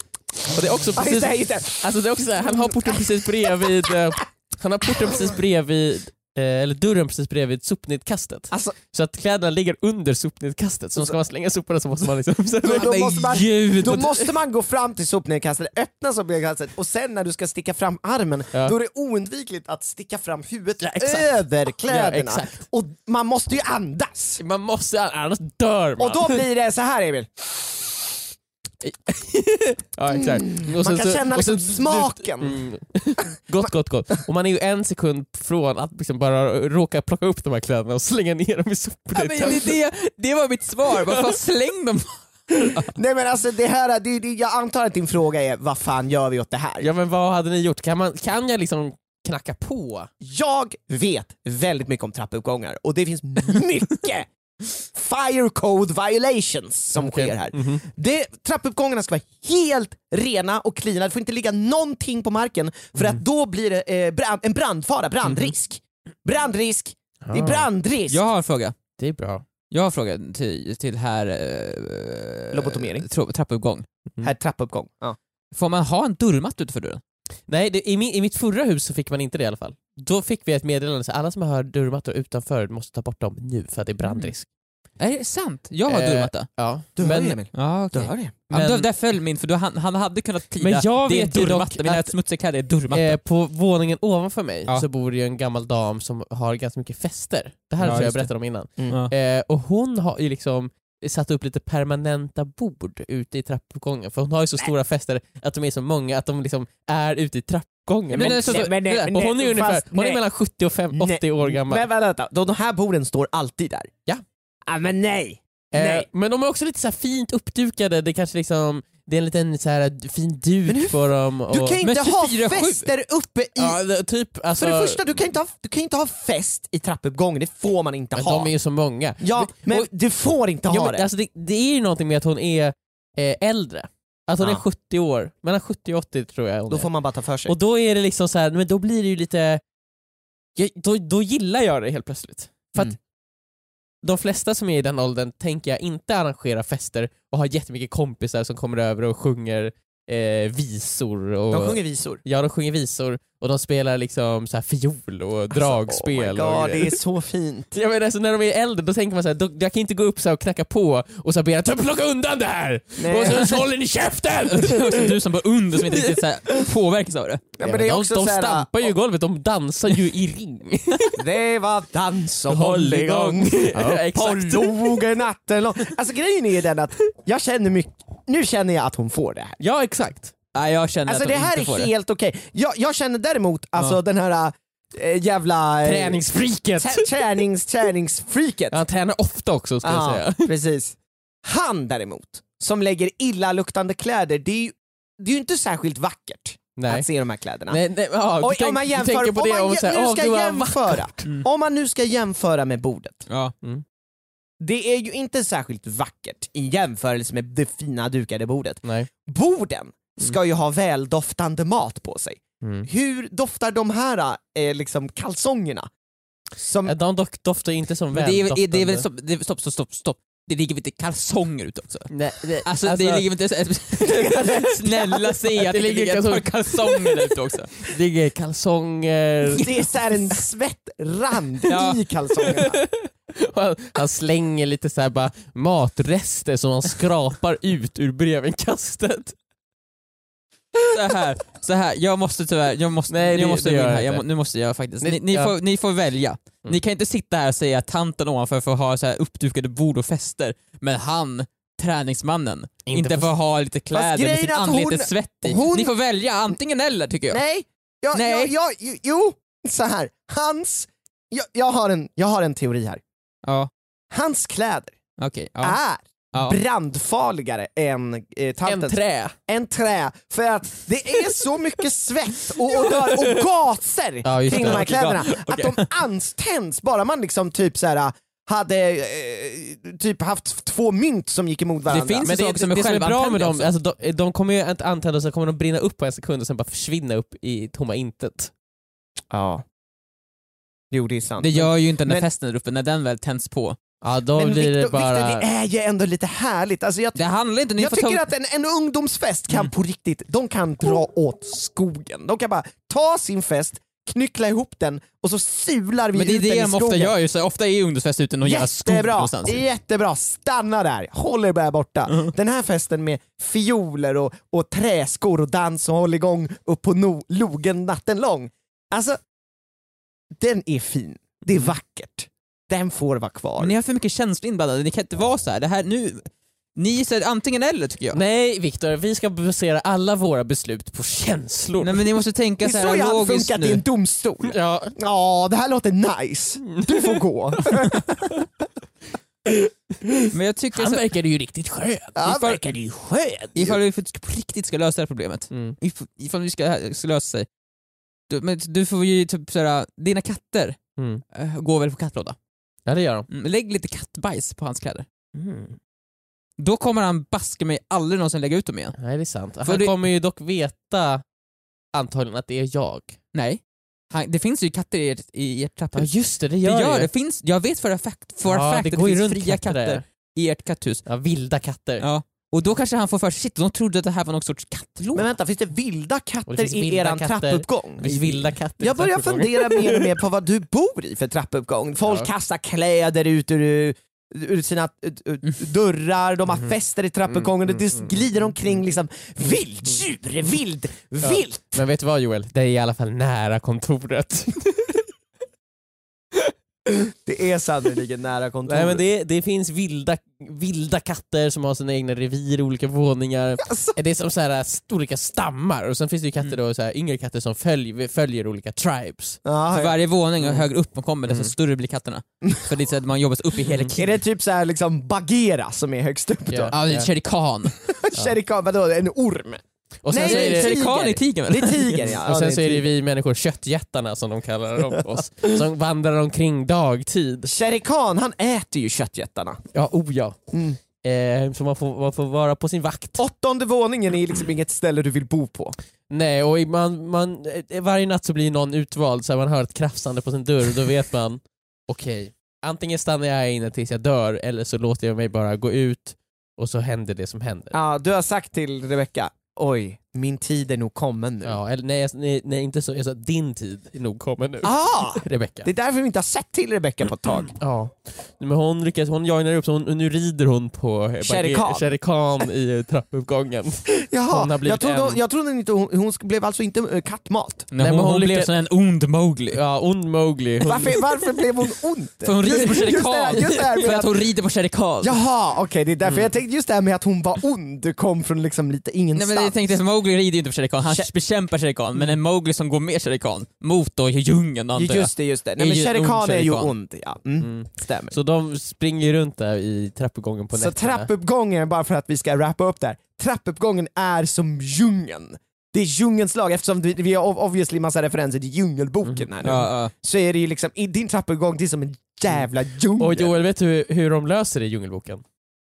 Speaker 2: Och det är också
Speaker 3: Ah, just
Speaker 2: precis,
Speaker 3: det, just det.
Speaker 2: alltså det är också så här, han har porten precis bredvid, eh, han har porten precis bredvid eh, eller dörren precis bredvid sopnedkastet.
Speaker 3: Alltså-
Speaker 2: så att kläderna ligger under sopnedkastet, så ska man slänga soporna så måste man liksom...
Speaker 3: Men då måste man-
Speaker 2: gud!
Speaker 3: Då måste man gå fram till sopnedkastet, öppna sopnedkastet och sen när du ska sticka fram armen,
Speaker 2: Ja.
Speaker 3: då är det oundvikligt att sticka fram huvudet
Speaker 2: exakt.
Speaker 3: över
Speaker 2: ja,
Speaker 3: kläderna.
Speaker 2: exakt.
Speaker 3: och man måste ju andas!
Speaker 2: Man måste, annars dör man.
Speaker 3: Och då blir det så här Emil,
Speaker 2: ja, exakt. Och
Speaker 3: Mm. man kan
Speaker 2: så-
Speaker 3: känna
Speaker 2: och sen
Speaker 3: liksom smaken.
Speaker 2: Mm. Gott, gott, gott. Och man är ju en sekund från att liksom bara råka plocka upp de här kläderna och slänga ner dem i soporna.
Speaker 4: Ja,
Speaker 2: i
Speaker 4: men
Speaker 2: tömmen.
Speaker 4: det, det, det var mitt svar, vad fan släng dem!
Speaker 3: Nej men alltså det här, det, det, jag antar att din fråga är vad fan gör vi åt det här?
Speaker 2: ja men vad hade ni gjort? Kan, man, kan jag liksom knacka på?
Speaker 3: Jag vet väldigt mycket om trappuppgångar och det finns mycket fire code violations som
Speaker 2: Okej.
Speaker 3: sker här. Det, trappuppgångarna ska vara helt rena och cleana, det får inte ligga någonting på marken för att då blir det eh, brand, en brandfara, brandrisk. Brandrisk, det är brandrisk.
Speaker 4: Jag har en fråga.
Speaker 2: Det är bra.
Speaker 4: Jag har en fråga till, till här... Eh,
Speaker 3: Lobotomering.
Speaker 4: tro- Trappuppgång.
Speaker 3: Här trappuppgång. Ja.
Speaker 4: Får man ha en dörrmatta utanför dörren?
Speaker 2: Nej, det, i, min, i mitt förra hus så fick man inte det i alla fall. Då fick vi ett meddelande så alla som har dörrmattor utanför måste ta bort dem nu för att det är brandrisk.
Speaker 4: Är det sant? Jag har
Speaker 2: Eh,
Speaker 4: dörrmatta.
Speaker 2: Ja.
Speaker 3: Mm. Du hör ju
Speaker 2: men,
Speaker 3: Emil.
Speaker 4: Ja,
Speaker 3: Du
Speaker 4: okej.
Speaker 3: hör ju.
Speaker 4: Ja, men då-
Speaker 2: Men-
Speaker 4: där föll min, för då han, han hade kunnat tyda
Speaker 2: Men jag
Speaker 4: det är
Speaker 2: vet ju
Speaker 4: dörrmatta,
Speaker 2: dock
Speaker 4: mina
Speaker 2: att-
Speaker 4: smutsiga kläder är dörrmatta.
Speaker 2: eh, på våningen ovanför mig
Speaker 4: Ja.
Speaker 2: så bor det ju en gammal dam som har ganska mycket fester. Det här
Speaker 4: Ja,
Speaker 2: tror
Speaker 4: just
Speaker 2: jag jag
Speaker 4: det.
Speaker 2: berättade om innan.
Speaker 3: Mm.
Speaker 4: Ja.
Speaker 2: Eh, och hon har ju liksom satt upp lite permanenta bord ute i trappuppgången för hon har ju så stora fester att de är så många att de liksom är ute i trappuppgången.
Speaker 4: Men-
Speaker 2: Men-
Speaker 4: så-
Speaker 3: nej, men nej,
Speaker 4: det där.
Speaker 3: men
Speaker 2: och
Speaker 3: nej,
Speaker 2: hon är, ungefär,
Speaker 3: fast
Speaker 2: hon är
Speaker 3: nej.
Speaker 2: mellan 70 och fem- 80 år gammal.
Speaker 3: Men vänta, de, de här borden står alltid där?
Speaker 2: Ja.
Speaker 3: Ah, men nej!
Speaker 2: eh,
Speaker 3: nej.
Speaker 2: men de är också lite så här fint uppdukade, det kanske liksom det är en liten så här fin duk
Speaker 3: Men hur-
Speaker 2: på dem.
Speaker 3: Du
Speaker 2: Och, typ-
Speaker 3: kan
Speaker 4: men
Speaker 3: inte ha
Speaker 4: 24-7.
Speaker 3: fester uppe i...
Speaker 2: ja, det- typ, alltså,
Speaker 3: För det första, du kan, inte ha, du kan inte ha fest i trappuppgången, det får man inte
Speaker 2: men
Speaker 3: ha.
Speaker 2: de är ju så många.
Speaker 3: Ja, men
Speaker 2: och-
Speaker 3: du får inte ha
Speaker 2: Ja, men,
Speaker 3: det.
Speaker 2: alltså, det, det är ju någonting med att hon är eh, äldre. Att hon
Speaker 3: Ja.
Speaker 2: är 70 år, mellan 70 och 80 tror jag hon
Speaker 3: Då
Speaker 2: är.
Speaker 3: får man bara ta för sig.
Speaker 2: Och då är det liksom så här, men då blir det ju lite... Jag, då, då gillar jag det helt plötsligt. För att
Speaker 3: Mm.
Speaker 2: de flesta som är i den åldern tänker jag inte arrangera fester och ha jättemycket kompisar som kommer över och sjunger eh, visor. Och,
Speaker 3: de sjunger visor.
Speaker 2: Ja, de sjunger visor och de spelar liksom så här fiol och dragspel.
Speaker 3: Alltså, oh my
Speaker 2: och
Speaker 3: Alltså, God, det
Speaker 2: grejer.
Speaker 3: är så fint.
Speaker 2: jag menar, alltså, när de är äldre då tänker man så här, då, jag kan inte gå upp så här och knacka på och så här be att plocka undan det här!
Speaker 3: Nej.
Speaker 2: Och så, så håller ni käften!
Speaker 4: Det är också du som bara under som inte riktigt så här påverkas av det.
Speaker 3: Ja, men det är
Speaker 2: de
Speaker 3: också
Speaker 2: de
Speaker 3: så här,
Speaker 2: stampar ju i golvet, de dansar ju i ring.
Speaker 3: Det var dans och
Speaker 2: Håll igång.
Speaker 3: hålligång.
Speaker 2: Ja,
Speaker 3: På
Speaker 2: exakt.
Speaker 3: logen natten lång. Alltså grejen är ju den att jag känner mycket, nu känner jag att hon får det här.
Speaker 2: ja, exakt.
Speaker 4: Nej, jag känner
Speaker 3: Alltså
Speaker 4: att
Speaker 3: det
Speaker 4: de
Speaker 3: här
Speaker 4: inte får
Speaker 3: är
Speaker 4: det.
Speaker 3: helt okej. Jag, jag känner däremot alltså den här eh, jävla... eh,
Speaker 2: Träningsfreaket!
Speaker 3: trä- Tränings, träningsfreaket. Ah.
Speaker 2: Ah. Ja, Han tränar ofta också ska jag
Speaker 3: Ja,
Speaker 2: säga.
Speaker 3: precis. Han däremot, som lägger illaluktande kläder, det är ju, det är ju inte särskilt vackert
Speaker 2: Nej.
Speaker 3: att se de här kläderna.
Speaker 2: Nej, nej,
Speaker 4: ah,
Speaker 2: ja,
Speaker 3: Oj,
Speaker 2: tänk,
Speaker 3: om man
Speaker 2: du
Speaker 3: jämför,
Speaker 2: tänker på
Speaker 3: om
Speaker 2: det
Speaker 3: man
Speaker 2: och
Speaker 3: jä-
Speaker 2: så här,
Speaker 3: nu
Speaker 2: åh,
Speaker 3: ska
Speaker 2: gud, vad
Speaker 3: jämföra.
Speaker 2: vackert.
Speaker 4: Mm.
Speaker 3: Om man nu ska jämföra med bordet,
Speaker 4: Ja.
Speaker 3: det är ju inte särskilt vackert i jämförelse med det fina dukade bordet.
Speaker 2: Nej.
Speaker 3: Borden ska ju ha väldoftande mat på sig.
Speaker 2: Mm.
Speaker 3: Hur doftar de här eh, liksom kalsongerna? Som,
Speaker 2: Ja, De dock doftar ju inte som
Speaker 4: Men det är, väl- är, det är väl
Speaker 2: väldoftande.
Speaker 4: stopp, det är, stopp, stopp, stopp, stopp. Det ligger väl inte kalsonger ute också?
Speaker 2: Nej, nej,
Speaker 4: Alltså, det ligger väl inte... Snälla säg att det ligger, ett par kalsonger där ute också.
Speaker 2: det ligger kalsonger,
Speaker 3: det är så här en svettrand
Speaker 4: Ja.
Speaker 3: i kalsongerna.
Speaker 2: Och han, han slänger lite så här bara matrester som han skrapar ut ur brevinkastet.
Speaker 4: Så här, så här. jag måste tyvärr, jag måste,
Speaker 2: Nej, det-
Speaker 4: jag måste
Speaker 2: det
Speaker 4: gå in
Speaker 2: gör jag
Speaker 4: här. Jag,
Speaker 2: inte.
Speaker 4: må- nu måste jag faktiskt.
Speaker 2: Ni-
Speaker 4: Ni, ni,
Speaker 2: ja.
Speaker 4: får, ni får välja. Ni kan inte sitta här och säga att tanten ovanför får ha så här uppdukade bord och fester, men han, träningsmannen, inte,
Speaker 2: på-
Speaker 4: får ha lite kläder
Speaker 3: grejen
Speaker 4: med sitt
Speaker 3: är att
Speaker 4: anlete
Speaker 3: hon-
Speaker 4: svett i.
Speaker 3: hon-
Speaker 4: Ni får välja, antingen eller tycker jag.
Speaker 3: Nej, jag,
Speaker 4: Nej.
Speaker 3: Jag, jag, jo, jo, så här. Hans, jag, jag, har en, jag har en teori här.
Speaker 4: Ja,
Speaker 3: Hans kläder
Speaker 4: okej. ja,
Speaker 3: är
Speaker 4: ja.
Speaker 3: brandfarligare än eh,
Speaker 2: En
Speaker 3: tantens.
Speaker 2: trä.
Speaker 3: än trä, för att det är så mycket svett och odör och gaser
Speaker 2: Ja, just
Speaker 3: kring
Speaker 2: det.
Speaker 3: de här kläderna
Speaker 4: Okej, bra.
Speaker 3: att de anständs bara man liksom typ så här hade eh, typ haft två mynt som gick emot varandra.
Speaker 4: finns-
Speaker 2: Men
Speaker 4: Så
Speaker 2: det,
Speaker 4: också
Speaker 2: det,
Speaker 4: med
Speaker 2: det som är bra med
Speaker 4: självantändning
Speaker 2: dem,
Speaker 4: också.
Speaker 2: alltså, de, de kommer ju inte antända och så kommer de brinna upp på en sekund och sen bara försvinna upp i tomma intet.
Speaker 3: Ja. Jo det är sant.
Speaker 4: Det gör ju inte den där
Speaker 3: Men-
Speaker 4: festen där uppe, när den väl tänds på.
Speaker 2: Ja, då
Speaker 3: Men
Speaker 2: blir
Speaker 3: Victor,
Speaker 2: det
Speaker 3: Victor,
Speaker 2: bara...
Speaker 3: det är ju ändå lite härligt. Alltså jag
Speaker 4: Det handlar inte, ni
Speaker 3: jag
Speaker 4: får ta Mm.
Speaker 3: tycker att en, en ungdomsfest kan på riktigt, de kan dra åt skogen. De kan bara ta sin fest, knyckla ihop den och så sular vi
Speaker 4: Men det är
Speaker 3: ut den i
Speaker 4: det de
Speaker 3: skogen.
Speaker 4: ofta gör ju, så ofta är ungdomsfest ute i någon jävla skog
Speaker 3: Jättebra,
Speaker 4: någonstans.
Speaker 3: jättebra, stanna där, håll er bara borta.
Speaker 2: Mhm.
Speaker 3: Den här festen med fioler och, och träskor och dans och håll igång upp på no, logen natten lång. Alltså, den är fin, det är
Speaker 2: Mm.
Speaker 3: vackert, den får vara kvar.
Speaker 4: Men Ni har för mycket känslor inblandade, ni kan inte vara så här. Det här nu, ni är så här, antingen eller tycker jag.
Speaker 2: Nej Viktor, vi ska basera alla våra beslut på känslor.
Speaker 4: Nej men ni måste
Speaker 3: det
Speaker 4: tänka
Speaker 3: är
Speaker 4: så
Speaker 3: så
Speaker 4: här
Speaker 3: jag hade
Speaker 4: logiskt
Speaker 3: funkat i en
Speaker 4: nu.
Speaker 3: domstol.
Speaker 2: Ja,
Speaker 3: Ja, det här låter nice. Du får gå.
Speaker 4: Men jag tycker
Speaker 2: han
Speaker 4: så här,
Speaker 2: verkade ju riktigt skön.
Speaker 3: Han
Speaker 4: Ifall-
Speaker 3: verkade ju skön.
Speaker 4: ifall vi på riktigt ska lösa det här problemet,
Speaker 2: Mm.
Speaker 4: if, ifall vi ska, ska lösa sig, du, men du får ju typ såhär, dina katter
Speaker 2: Mm.
Speaker 4: eh, går väl på kattlåda?
Speaker 2: Ja det gör de.
Speaker 4: Mm, lägg lite kattbajs på hans kläder.
Speaker 3: Mm.
Speaker 4: Då kommer han baske mig aldrig någonsin lägga ut dem igen.
Speaker 2: Nej det är sant.
Speaker 4: För
Speaker 2: Han
Speaker 4: det-
Speaker 2: kommer ju dock veta antagligen att det är jag.
Speaker 4: Nej. Han, det finns ju katter i ert, i ert
Speaker 2: Ja
Speaker 4: trapphus.
Speaker 2: just det, det
Speaker 4: det
Speaker 2: gör,
Speaker 4: gör
Speaker 2: ju.
Speaker 4: det. Finns, jag vet för a fact, for
Speaker 2: Ja,
Speaker 4: a fact
Speaker 2: det
Speaker 4: att det
Speaker 2: går ju
Speaker 4: finns
Speaker 2: runt
Speaker 4: fria
Speaker 2: katter
Speaker 4: katter,
Speaker 2: där.
Speaker 4: i ert katthus.
Speaker 2: Ja, vilda katter.
Speaker 4: Ja. Och då kanske han får för sig, shit, de trodde att det här var någon sorts kattlåda.
Speaker 3: Men vänta, finns det vilda
Speaker 2: Och
Speaker 3: katter
Speaker 2: det finns
Speaker 3: i
Speaker 2: vilda
Speaker 3: eran
Speaker 2: katter.
Speaker 3: trappuppgång?
Speaker 2: Det finns vilda katter.
Speaker 3: Jag börjar
Speaker 2: Trappuppgången.
Speaker 3: fundera mer och mer på vad du bor i för trappuppgång. Folk
Speaker 2: Ja.
Speaker 3: kastar kläder ut ur, ur sina ut, ut, dörrar, de har fester i trappuppgången och det glider omkring liksom vilddjur, vild, vilt.
Speaker 2: Men vet du vad Joel? Det är i alla fall nära kontoret.
Speaker 3: Det är sannoliken nära kontoret.
Speaker 2: Nej men det, det finns vilda, vilda katter som har sina egna revir, olika våningar.
Speaker 3: Alltså,
Speaker 2: Det är som så här, st- olika stammar och sen finns det ju
Speaker 3: Mm.
Speaker 2: katter då, så här, yngre katter som följ, följer olika tribes.
Speaker 3: ja,
Speaker 4: För
Speaker 3: Ah, ja.
Speaker 4: varje våning och högre upp man kommer desto större blir katterna. För det är så att man jobbas upp i
Speaker 3: Är
Speaker 4: hierarkin.
Speaker 3: det typ såhär liksom Bagheera som är högst upp då?
Speaker 2: Ja.
Speaker 4: Ja, det är Shere Khan.
Speaker 3: Sherikan, vadå en orm?
Speaker 2: Och sen
Speaker 3: Nej,
Speaker 2: så
Speaker 3: nej,
Speaker 2: är det,
Speaker 4: Shere Khan är tigern väl?
Speaker 3: Det är tiger ja.
Speaker 2: och
Speaker 3: ja.
Speaker 2: sen
Speaker 3: det
Speaker 2: så är det
Speaker 3: tiger.
Speaker 2: vi människor, köttjättarna som de kallar dem, oss, som vandrar omkring dagtid.
Speaker 3: Shere Khan, han äter ju köttjättarna.
Speaker 2: Ja, oh ja.
Speaker 3: Mm.
Speaker 2: Eh, så man får, man får vara på sin vakt.
Speaker 3: Åttonde våningen är liksom inget ställe du vill bo på.
Speaker 2: Nej, och i- man, man, eh, varje natt så blir någon utvald, så här, man hör ett krafsande på sin dörr och då vet man, okej, antingen stannar jag här inne tills jag dör eller så låter jag mig bara gå ut och så händer det som händer.
Speaker 3: Ja, du har sagt till Rebecca, oj, min tid är nog kommen nu.
Speaker 2: Ja, eller, nej, jag- nej, nej, inte så. Jag sa din tid är nog kommen nu.
Speaker 3: Ah,
Speaker 2: Rebecka.
Speaker 3: det är därför vi inte har sett till Rebecca på ett tag.
Speaker 2: Ja. Men hon lyckas, hon joinar upp så hon, nu rider hon på eh,
Speaker 3: Shere
Speaker 2: Bagheera-
Speaker 3: Khan.
Speaker 2: Shere Khan i eh, trappuppgången.
Speaker 3: Jaha,
Speaker 2: Hon har blivit
Speaker 3: jag trodde,
Speaker 2: en-
Speaker 3: jag trodde inte hon, hon sk- blev alltså inte eh, kattmat.
Speaker 4: Nej,
Speaker 2: men
Speaker 4: hon,
Speaker 2: hon
Speaker 4: hon blev
Speaker 2: lyckades-
Speaker 4: som en ond Mowgli.
Speaker 2: Ja, ond Mowgli. Hon,
Speaker 3: Varför, varför blev hon ont?
Speaker 4: För hon rider på Shere
Speaker 3: Just det här-
Speaker 4: Khan.
Speaker 3: just det här med
Speaker 4: För
Speaker 3: att-
Speaker 4: att hon rider på Shere Khan.
Speaker 3: Jaha, okej det är därför jag tänkte just det här med att hon var ond kom från liksom lite
Speaker 4: Nej
Speaker 3: ingenstans.
Speaker 4: men jag tänkte att Mowgli rider ju inte på Shere Khan, han
Speaker 3: Sha-
Speaker 4: bekämpar Shere Khan, men en Mowgli som går med Shere Khan mot då djungeln antar jag.
Speaker 3: Just det, just det.
Speaker 4: Är
Speaker 3: Nej, men
Speaker 4: ju
Speaker 3: Shere
Speaker 4: ond
Speaker 3: Khan är ju
Speaker 4: Shere Khan.
Speaker 3: ond, ja. Mm.
Speaker 2: Mm.
Speaker 3: Stämmer.
Speaker 2: Så de springer ju runt där i trappuppgången på
Speaker 3: Så
Speaker 2: nätterna.
Speaker 3: trappuppgången, bara för att vi ska wrappa upp där. Trappuppgången är som djungeln. Det är djungelns lag, eftersom vi, vi har ov- obviously massa referenser till djungelboken här nu.
Speaker 2: Mm-hmm.
Speaker 4: Ja, ja.
Speaker 3: Så är det ju liksom, i din trappuppgång, det är som en jävla djungel.
Speaker 2: Och Joel, vet du hur, hur de löser det i Djungelboken?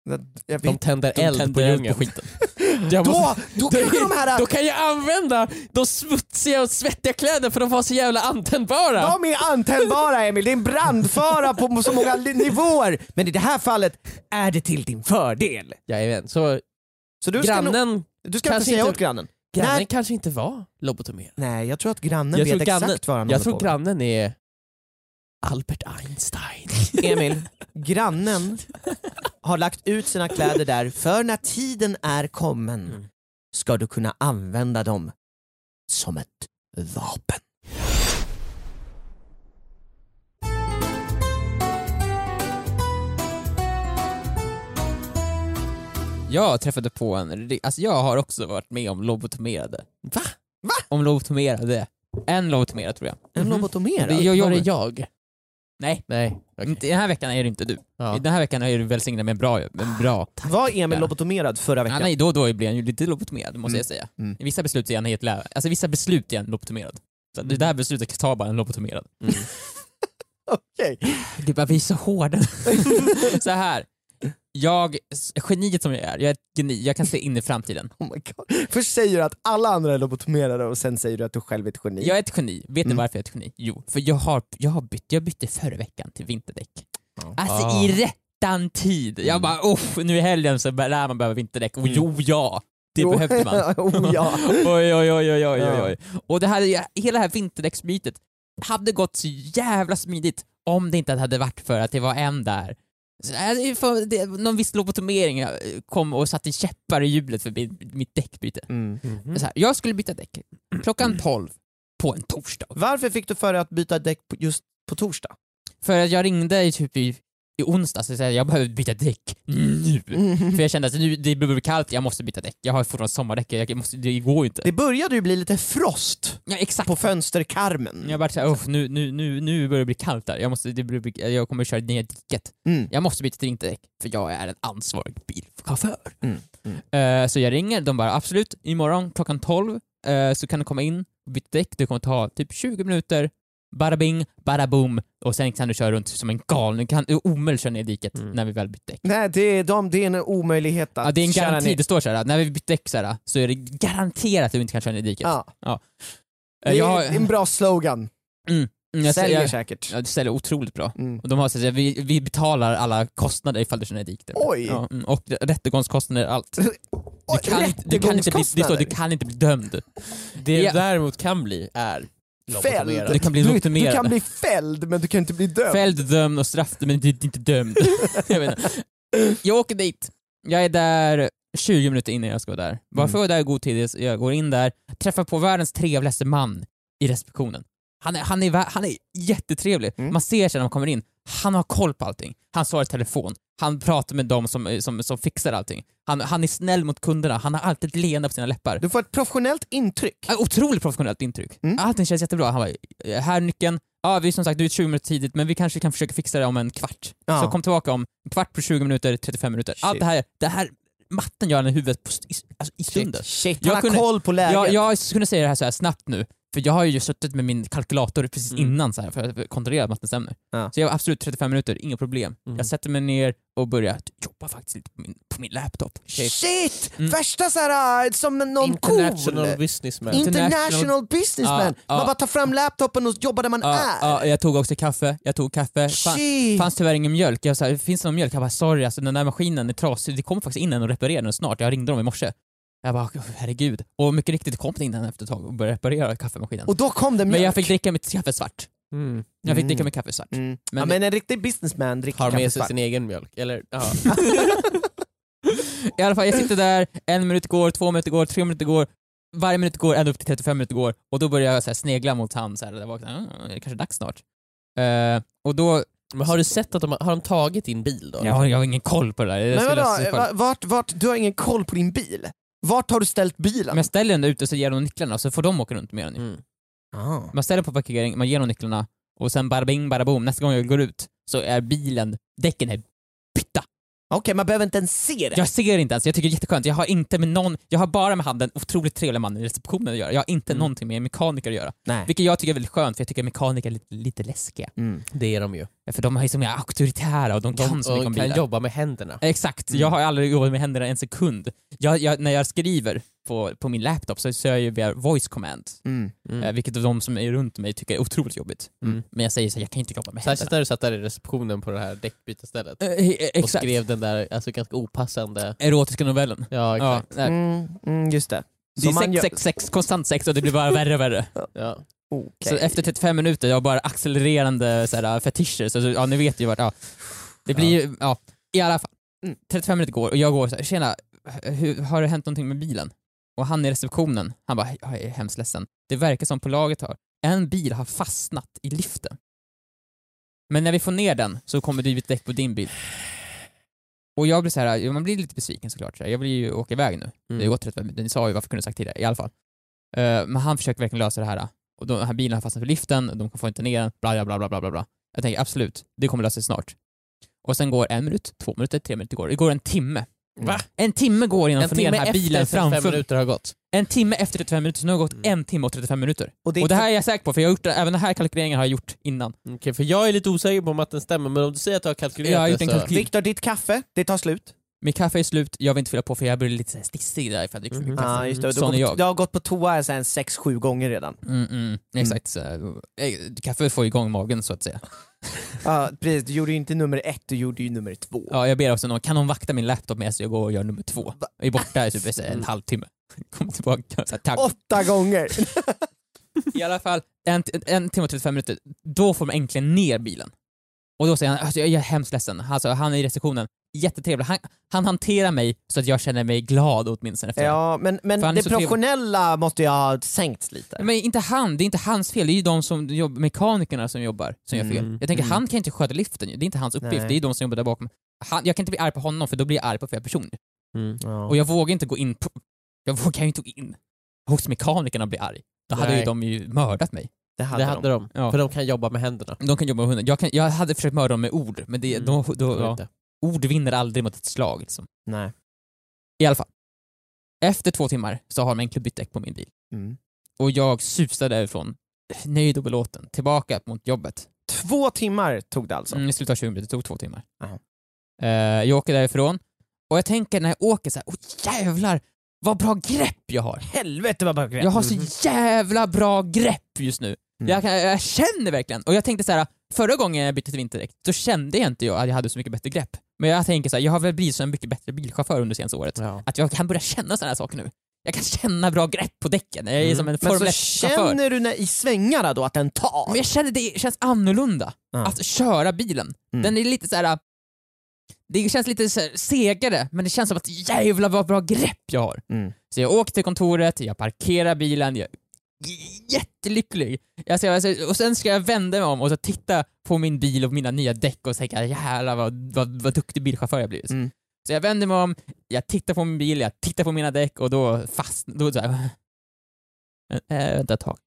Speaker 3: Jag
Speaker 2: De
Speaker 3: vet.
Speaker 2: tänder
Speaker 4: De
Speaker 2: eld
Speaker 4: tänder
Speaker 2: på
Speaker 4: eld
Speaker 2: djungeln.
Speaker 4: på skiten.
Speaker 2: Jag
Speaker 3: Då,
Speaker 2: måste-
Speaker 3: då kanske de här,
Speaker 2: då kan jag använda de smutsiga och svettiga kläderna för de var så jävla antändbara.
Speaker 3: de är antändbara Emil, det är en brandfara på så många li- nivåer. Men i det här fallet är det till din fördel.
Speaker 2: Jajamän, så
Speaker 3: Så du ska, nog-
Speaker 2: grannen,
Speaker 3: du ska inte
Speaker 2: kanske
Speaker 3: säga
Speaker 2: inte-
Speaker 3: åt grannen?
Speaker 2: grannen
Speaker 3: Nej.
Speaker 2: kanske inte var lobotomerad.
Speaker 3: Nej, jag tror att grannen
Speaker 2: Jag
Speaker 3: vet
Speaker 2: tror grannen-
Speaker 3: exakt vad han
Speaker 2: Jag
Speaker 3: håller
Speaker 2: tror
Speaker 3: på med.
Speaker 2: grannen är Albert Einstein.
Speaker 3: Emil, grannen har lagt ut sina kläder där för när tiden är kommen
Speaker 2: Mm.
Speaker 3: ska du kunna använda dem som ett vapen.
Speaker 4: Jag träffade på en, ri- alltså jag har också varit med om lobotomerade.
Speaker 2: Va?
Speaker 3: Va?
Speaker 4: Om lobotomerade. En lobotomerad tror jag.
Speaker 3: En
Speaker 2: Mhm.
Speaker 3: lobotomerad?
Speaker 4: Det gör jag.
Speaker 2: var det jag?
Speaker 4: Nej.
Speaker 2: Nej. okej.
Speaker 4: Inte- Den här veckan är det inte du.
Speaker 2: Ja.
Speaker 4: Den här veckan är du välsignad med en bra, med en bra
Speaker 3: Var Emil lobotomerad förra
Speaker 4: Ja,
Speaker 3: veckan?
Speaker 4: nej, då och då blir han ju lite lobotomerad måste
Speaker 3: Mm.
Speaker 4: jag säga.
Speaker 3: Mm.
Speaker 4: I vissa beslut är han helt lä- alltså i vissa beslut är han lobotomerad. Så det där beslutet tar bara en lobotomerad.
Speaker 3: Okej.
Speaker 4: Det bara, vi är så hårda. så här. Jag, s- geniet som jag är, jag är ett geni, jag kan se in i framtiden.
Speaker 3: Oh my God. Först säger du att alla andra är lobotomerade och sen säger du att du själv är ett geni.
Speaker 4: Jag är ett geni, vet ni
Speaker 3: Mm.
Speaker 4: varför jag är ett geni? Jo, för jag har, jag har bytt, jag bytte förra veckan till vinterdäck.
Speaker 3: Ja. Mm.
Speaker 4: Alltså
Speaker 2: Ah.
Speaker 4: i rättan tid. Jag bara, oh, nu i helgen så lär man behöva vinterdäck. Och jo, ja. Det
Speaker 3: Jo.
Speaker 4: behövde man.
Speaker 3: oh, ja.
Speaker 4: oj, oj, oj, oj, oj, oj,
Speaker 3: Ja.
Speaker 4: oj. Och det här, hela det här vinterdäcksbytet hade gått så jävla smidigt om det inte hade varit för att det var en där. Så, äh, det är för- det- Någon viss lobotomering eh, kom och satte käppar i hjulet för mitt, mitt däckbyte.
Speaker 3: Mm.
Speaker 2: Mhm.
Speaker 4: Så här, jag skulle byta däck klockan 12 på en torsdag.
Speaker 3: Varför fick du för dig att byta däck på- just på torsdag?
Speaker 4: För att jag ringde i typ i, i onsdags och sa att jag behöver byta däck nu.
Speaker 3: Mm.
Speaker 4: För jag kände att nu, det blir kallt, jag måste byta däck. Jag har fortfarande sommardäck, jag måste, det går ju inte.
Speaker 3: Det började ju bli lite frost
Speaker 4: Ja, exakt.
Speaker 3: på fönsterkarmen.
Speaker 4: Jag bara såhär, "Uff, nu, nu, nu, nu börjar det bli kallt där. Jag, måste, det blir, jag kommer köra ner diket.
Speaker 3: Mm.
Speaker 4: Jag måste byta till vinterdäck, för jag är en ansvarig bilchaufför.
Speaker 3: Mm, mm.
Speaker 4: Eh, så jag ringer, de bara absolut, imorgon klockan 12 eh, så kan du komma in och byta däck. Det kommer ta typ 20 minuter, bara bing, bara boom och sen kan du köra runt som en galning. Du kan du är omöjligt köra ner i diket
Speaker 2: Mm.
Speaker 4: när vi väl bytt däck.
Speaker 3: Nej, det är, de, det är en omöjlighet att
Speaker 4: Ja, det är en
Speaker 3: köra
Speaker 4: garanti,
Speaker 3: ner.
Speaker 4: det står såhär, när vi bytt däck såhär, så är det garanterat att du inte kan köra ner i diket.
Speaker 3: Ja, det
Speaker 4: Eh,
Speaker 3: är
Speaker 4: jag, har-
Speaker 3: en bra slogan.
Speaker 4: mm, jag,
Speaker 3: Säljer
Speaker 4: jag,
Speaker 3: säkert.
Speaker 4: jag, det säljer otroligt bra.
Speaker 3: Mm.
Speaker 4: Och de har sagt att vi, vi betalar alla kostnader ifall du känner dikt.
Speaker 3: Oj!
Speaker 4: Ja, mm, och rättegångskostnader, allt.
Speaker 3: Oj,
Speaker 4: Du kan, inte- du kan inte bli, det står, du kan inte bli dömd.
Speaker 2: Det
Speaker 4: Ja.
Speaker 2: däremot kan bli är
Speaker 3: Fälld.
Speaker 2: lobotomerad.
Speaker 4: Du kan bli
Speaker 3: du, du
Speaker 4: lobotomerad.
Speaker 3: kan bli fälld men du kan inte bli dömd.
Speaker 4: Fälld, dömd och straffad men inte inte dömd. jag, vet inte. jag åker dit, jag är där 20 minuter innan jag ska vara där.
Speaker 3: Mm.
Speaker 4: Varför var jag där i god tid? Jag går in där, träffar på världens trevligaste man i receptionen. Han är, han är, vä- han är jättetrevlig,
Speaker 3: Mm.
Speaker 4: man ser sig när man kommer in. Han har koll på allting. Han svarar i telefon, han pratar med dem som, som, som fixar allting. Han, han är snäll mot kunderna, han har alltid ett leende på sina läppar.
Speaker 3: Du får ett professionellt intryck.
Speaker 4: Ja, Otroligt professionellt intryck.
Speaker 3: Mm.
Speaker 4: Allting känns jättebra. Han bara, "Eh, här är nyckeln. Ja, vi är som sagt du är 20 minuter tidigt men vi kanske kan försöka fixa det om en kvart.
Speaker 3: Ja.
Speaker 4: Så kom tillbaka om en kvart på 20 minuter, 35 minuter.
Speaker 3: Shit.
Speaker 4: Allt det här, det här matten gör han i huvudet på, st- i, alltså, i stunden.
Speaker 3: Shit, han
Speaker 4: Jag
Speaker 3: har
Speaker 4: kunde-
Speaker 3: koll på läget.
Speaker 4: Jag, jag skulle säga det här så här snabbt nu, för jag har ju suttit med min kalkylator precis
Speaker 2: Mm.
Speaker 4: innan så här, för att kontrollera att matten stämmer.
Speaker 3: Ja.
Speaker 4: Så jag har absolut 35 minuter, inga problem.
Speaker 2: Mm.
Speaker 4: Jag sätter mig ner och börjar jobba faktiskt lite på min, på min laptop.
Speaker 3: Shit!
Speaker 4: Mm.
Speaker 3: Värsta såhär, som någon cool.
Speaker 2: International businessman.
Speaker 3: International
Speaker 4: International-
Speaker 3: businessman.
Speaker 4: Ja,
Speaker 3: Man
Speaker 4: ja.
Speaker 3: bara tar fram laptopen och jobbar där man
Speaker 4: Ja,
Speaker 3: är.
Speaker 4: ja, jag tog också kaffe, jag tog kaffe. Fan,
Speaker 3: Shit!
Speaker 4: fanns tyvärr ingen mjölk. Jag sa, finns det någon mjölk? Jag bara, sorry alltså den där maskinen är trasig. Det kommer faktiskt in en och reparerar den snart. Jag ringde dem i morse. Jag bara, "Åh, herregud. Och mycket riktigt kom det in en efter ett tag och började reparera kaffemaskinen.
Speaker 3: Och då kom det
Speaker 4: Men jag
Speaker 3: mjölk.
Speaker 4: fick dricka mitt kaffe svart.
Speaker 2: Mm.
Speaker 4: Jag fick
Speaker 3: Mm.
Speaker 4: dricka mitt kaffe svart.
Speaker 3: Mm.
Speaker 4: Men-
Speaker 3: ja, men en riktig businessman dricker
Speaker 2: Har med sig
Speaker 3: kaffesvart.
Speaker 2: sin egen mjölk. Eller, ja.
Speaker 4: I alla fall, jag sitter där, en minut går, två minuter går, tre minuter går. Varje minut går, ända upp till 35 minuter går. Och då börjar jag så här, snegla mot han så här, där bak. Mm, det är kanske dags snart. Eh, och då,
Speaker 2: Men har du sett att de har, har de tagit din bil då?
Speaker 4: jag har, jag har ingen koll på det där. Jag
Speaker 3: Men
Speaker 4: ska
Speaker 3: vadå,
Speaker 4: lösa det själv.
Speaker 3: va- vart, vart, du har ingen koll på din bil? Vart har du ställt bilen?
Speaker 4: Men ställer den ute så ger de nycklarna så får de åka runt med den. ju.
Speaker 3: Ah.
Speaker 4: Man ställer på parkering, man ger dem nycklarna och sen bara bing bara boom, nästa gång jag går ut så är bilen, däcken är bytta.
Speaker 3: Okej, man behöver inte ens se det.
Speaker 4: Jag ser inte ens, jag tycker det är jätteskönt. Jag har inte med någon, jag har bara med han den otroligt trevliga mannen i receptionen att göra. Jag har inte
Speaker 3: Mm.
Speaker 4: någonting med en mekaniker att göra.
Speaker 3: Nej.
Speaker 4: Vilket jag tycker är väldigt skönt för jag tycker mekaniker är lite, lite läskiga.
Speaker 3: Mm.
Speaker 2: Det är de ju.
Speaker 4: För de är ju så många auktoritära och de, kan
Speaker 2: De
Speaker 4: så mycket om
Speaker 2: och kan
Speaker 4: bilar.
Speaker 2: jobba med händerna.
Speaker 4: Exakt,
Speaker 3: Mm.
Speaker 4: jag har aldrig jobbat med händerna en sekund. Jag, jag, när jag skriver på, på min laptop så kör jag ju via voice command,
Speaker 3: Mm.
Speaker 2: Mm.
Speaker 4: eh, vilket de som är runt mig tycker är otroligt jobbigt.
Speaker 3: Mm.
Speaker 4: Men jag säger så här, jag kan inte jobba med händerna.
Speaker 2: Särskilt när du satt där i receptionen på det här däckbytesstället.
Speaker 4: Eh, eh,
Speaker 2: Och
Speaker 4: exakt.
Speaker 2: skrev den där alltså, ganska opassande...
Speaker 4: Erotiska novellen.
Speaker 2: Ja,
Speaker 4: Ja,
Speaker 2: exakt.
Speaker 4: nej.
Speaker 3: Mm. Mm, just det.
Speaker 4: det är
Speaker 3: Som man
Speaker 4: sex,
Speaker 3: gör-
Speaker 4: sex, sex, konstant sex och det blir bara värre och värre.
Speaker 2: Ja.
Speaker 3: Okej.
Speaker 4: Så efter 35 minuter, jag har bara accelererande så här, fetischer, så så- ja, ni vet ju vart, ja. Det blir ju, ja. I alla fall,
Speaker 3: Mm.
Speaker 4: 35 minuter går och jag går så här, tjena, hur, har det hänt någonting med bilen? Och han i receptionen, han bara, jag är hemskt ledsen. Det verkar som på laget har, en bil har fastnat i liften. Men när vi får ner den så kommer det ju ett däck på din bil. Och jag blir så här, ja, man blir lite besviken såklart. så här. Jag vill ju åka iväg nu. Det har gått 35 minuter, ni sa ju varför kunde ni sagt tidigare i alla fall. Eh, men han försöker verkligen lösa det här. Och de den här bilen har fastnat på liften, de får inte ner den, bla bla bla bla bla bla. Jag tänker absolut, det kommer lösa sig snart. Och sen går en minut, två minuter, tre minuter går. Det går en timme.
Speaker 2: Va?
Speaker 4: En timme går innan han
Speaker 2: En
Speaker 4: får ner
Speaker 2: timme
Speaker 4: den här
Speaker 2: efter
Speaker 4: bilen
Speaker 2: 35
Speaker 4: framför.
Speaker 2: minuter har gått.
Speaker 4: En timme efter 35 minuter, så nu har det gått
Speaker 2: Mm.
Speaker 4: en timme och 35 minuter.
Speaker 3: Och
Speaker 4: Och det här är jag säker på, för jag har gjort, det- även den här kalkyleringen har jag gjort innan.
Speaker 2: Okej, för jag är lite osäker på om att den stämmer, men om du säger att du har kalkylerat
Speaker 4: Jag har gjort
Speaker 2: det
Speaker 4: en
Speaker 2: så...
Speaker 4: kalkyl.
Speaker 3: Viktor, ditt kaffe, det tar slut.
Speaker 4: Mitt kaffe är slut, jag vill inte fylla på för jag blir lite så här stissig där för att liksom- jag dricker för
Speaker 2: Mhm.
Speaker 4: mycket
Speaker 3: Ja,
Speaker 4: kaffe.
Speaker 3: ah, just det. Du
Speaker 4: Mm. Sån
Speaker 3: har,
Speaker 4: är
Speaker 3: gått,
Speaker 4: jag.
Speaker 3: du har gått på toa sen sex, sju gånger redan.
Speaker 4: Mm, mm, exakt. Så, eh, kaffe får igång magen så att säga.
Speaker 3: Ja, precis. Du gjorde ju inte nummer ett, du gjorde ju nummer två.
Speaker 4: Ja, jag ber också någon, kan någon vakta min laptop medan jag går och gör nummer två?
Speaker 3: Va?
Speaker 4: Jag är borta i typ så här en
Speaker 2: Mm.
Speaker 4: halvtimme. Kommer tillbaka och så här, tack.
Speaker 3: Åtta gånger!
Speaker 4: I alla fall, en, en timme och 35 minuter, då får de äntligen ner bilen. Och då säger han, alltså, jag är hemskt ledsen, alltså, han är i receptionen, jättetrevlig. Han, han hanterar mig så att jag känner mig glad åtminstone efter det.
Speaker 3: Ja, men, men
Speaker 4: För han är
Speaker 3: det
Speaker 4: så Mm. trevlig.
Speaker 3: professionella måste ju ha sänkts lite.
Speaker 4: Men inte han, det är inte hans fel, det är ju de som jobbar, mekanikerna som jobbar som gör fel.
Speaker 2: Mm,
Speaker 4: Jag tänker,
Speaker 3: mm.
Speaker 4: han kan inte sköta liften ju, det är inte hans uppgift,
Speaker 3: Nej.
Speaker 4: det är ju de som jobbar där bakom. Han, jag kan inte bli arg på honom för då blir jag arg på fel person.
Speaker 2: Mm.
Speaker 3: Ja.
Speaker 4: Och jag vågar inte gå in på... Jag vågar ju inte gå in hos mekanikerna och bli arg. Då hade
Speaker 2: Nej.
Speaker 4: ju de ju mördat mig.
Speaker 3: det hade
Speaker 2: Det
Speaker 3: de.
Speaker 2: hade de,
Speaker 4: Ja.
Speaker 2: för de kan jobba med händerna.
Speaker 4: De kan jobba med hunden. Jag, kan, jag hade försökt mörda dem med ord, men det,
Speaker 2: Mm.
Speaker 4: då, då,
Speaker 2: Går
Speaker 4: ja,
Speaker 2: inte.
Speaker 4: ord vinner aldrig mot ett slag. Liksom.
Speaker 3: Nej.
Speaker 4: I alla fall. Efter två timmar så har de enkelt bytt däck på min bil.
Speaker 3: Mm.
Speaker 4: Och jag susade därifrån, nöjd och belåten, tillbaka mot jobbet.
Speaker 3: Två timmar tog det alltså.
Speaker 4: Mm, det skulle ta 20 minuter, det tog två timmar.
Speaker 3: Aha.
Speaker 4: Eh, jag åker därifrån, och jag tänker när jag åker så här, åh jävlar vad bra grepp jag har.
Speaker 3: Helvete vad bra Mm. grej.
Speaker 4: Jag har så jävla bra grepp just nu.
Speaker 3: Mm.
Speaker 4: Jag, kan, jag känner verkligen, och jag tänkte så här: förra gången jag bytte till vinterdäck, då kände jag inte jag att jag hade så mycket bättre grepp. Men jag tänker så här, jag har väl blivit så en mycket bättre bilchaufför under senaste året.
Speaker 3: Mm.
Speaker 2: Ja.
Speaker 4: Att jag kan börja känna sådana här saker nu. Jag kan känna bra grepp på däcken, jag är
Speaker 2: Mm.
Speaker 4: som en
Speaker 3: Men
Speaker 4: Formel Mm.
Speaker 3: så
Speaker 4: 1-chaufför.
Speaker 3: känner du när, i svängarna då att den tar?
Speaker 4: Men jag känner det känns annorlunda
Speaker 3: Ja.
Speaker 4: att köra bilen.
Speaker 3: Mm.
Speaker 4: Den är lite så här. det känns lite så här segare, men det känns som att jävla vad bra grepp jag har.
Speaker 3: Mm.
Speaker 4: Så jag åker till kontoret, jag parkerar bilen, jag är jättelycklig. Jag ska, jag ska- och sen ska jag vända mig om och så titta på min bil och mina nya däck och tänka jävlar vad, vad, vad duktig bilchaufför jag blivit.
Speaker 3: Mm.
Speaker 4: Så jag vänder mig om, jag tittar på min bil, jag tittar på mina däck och då fast... Då så här, Men, eh, vänta ett tag.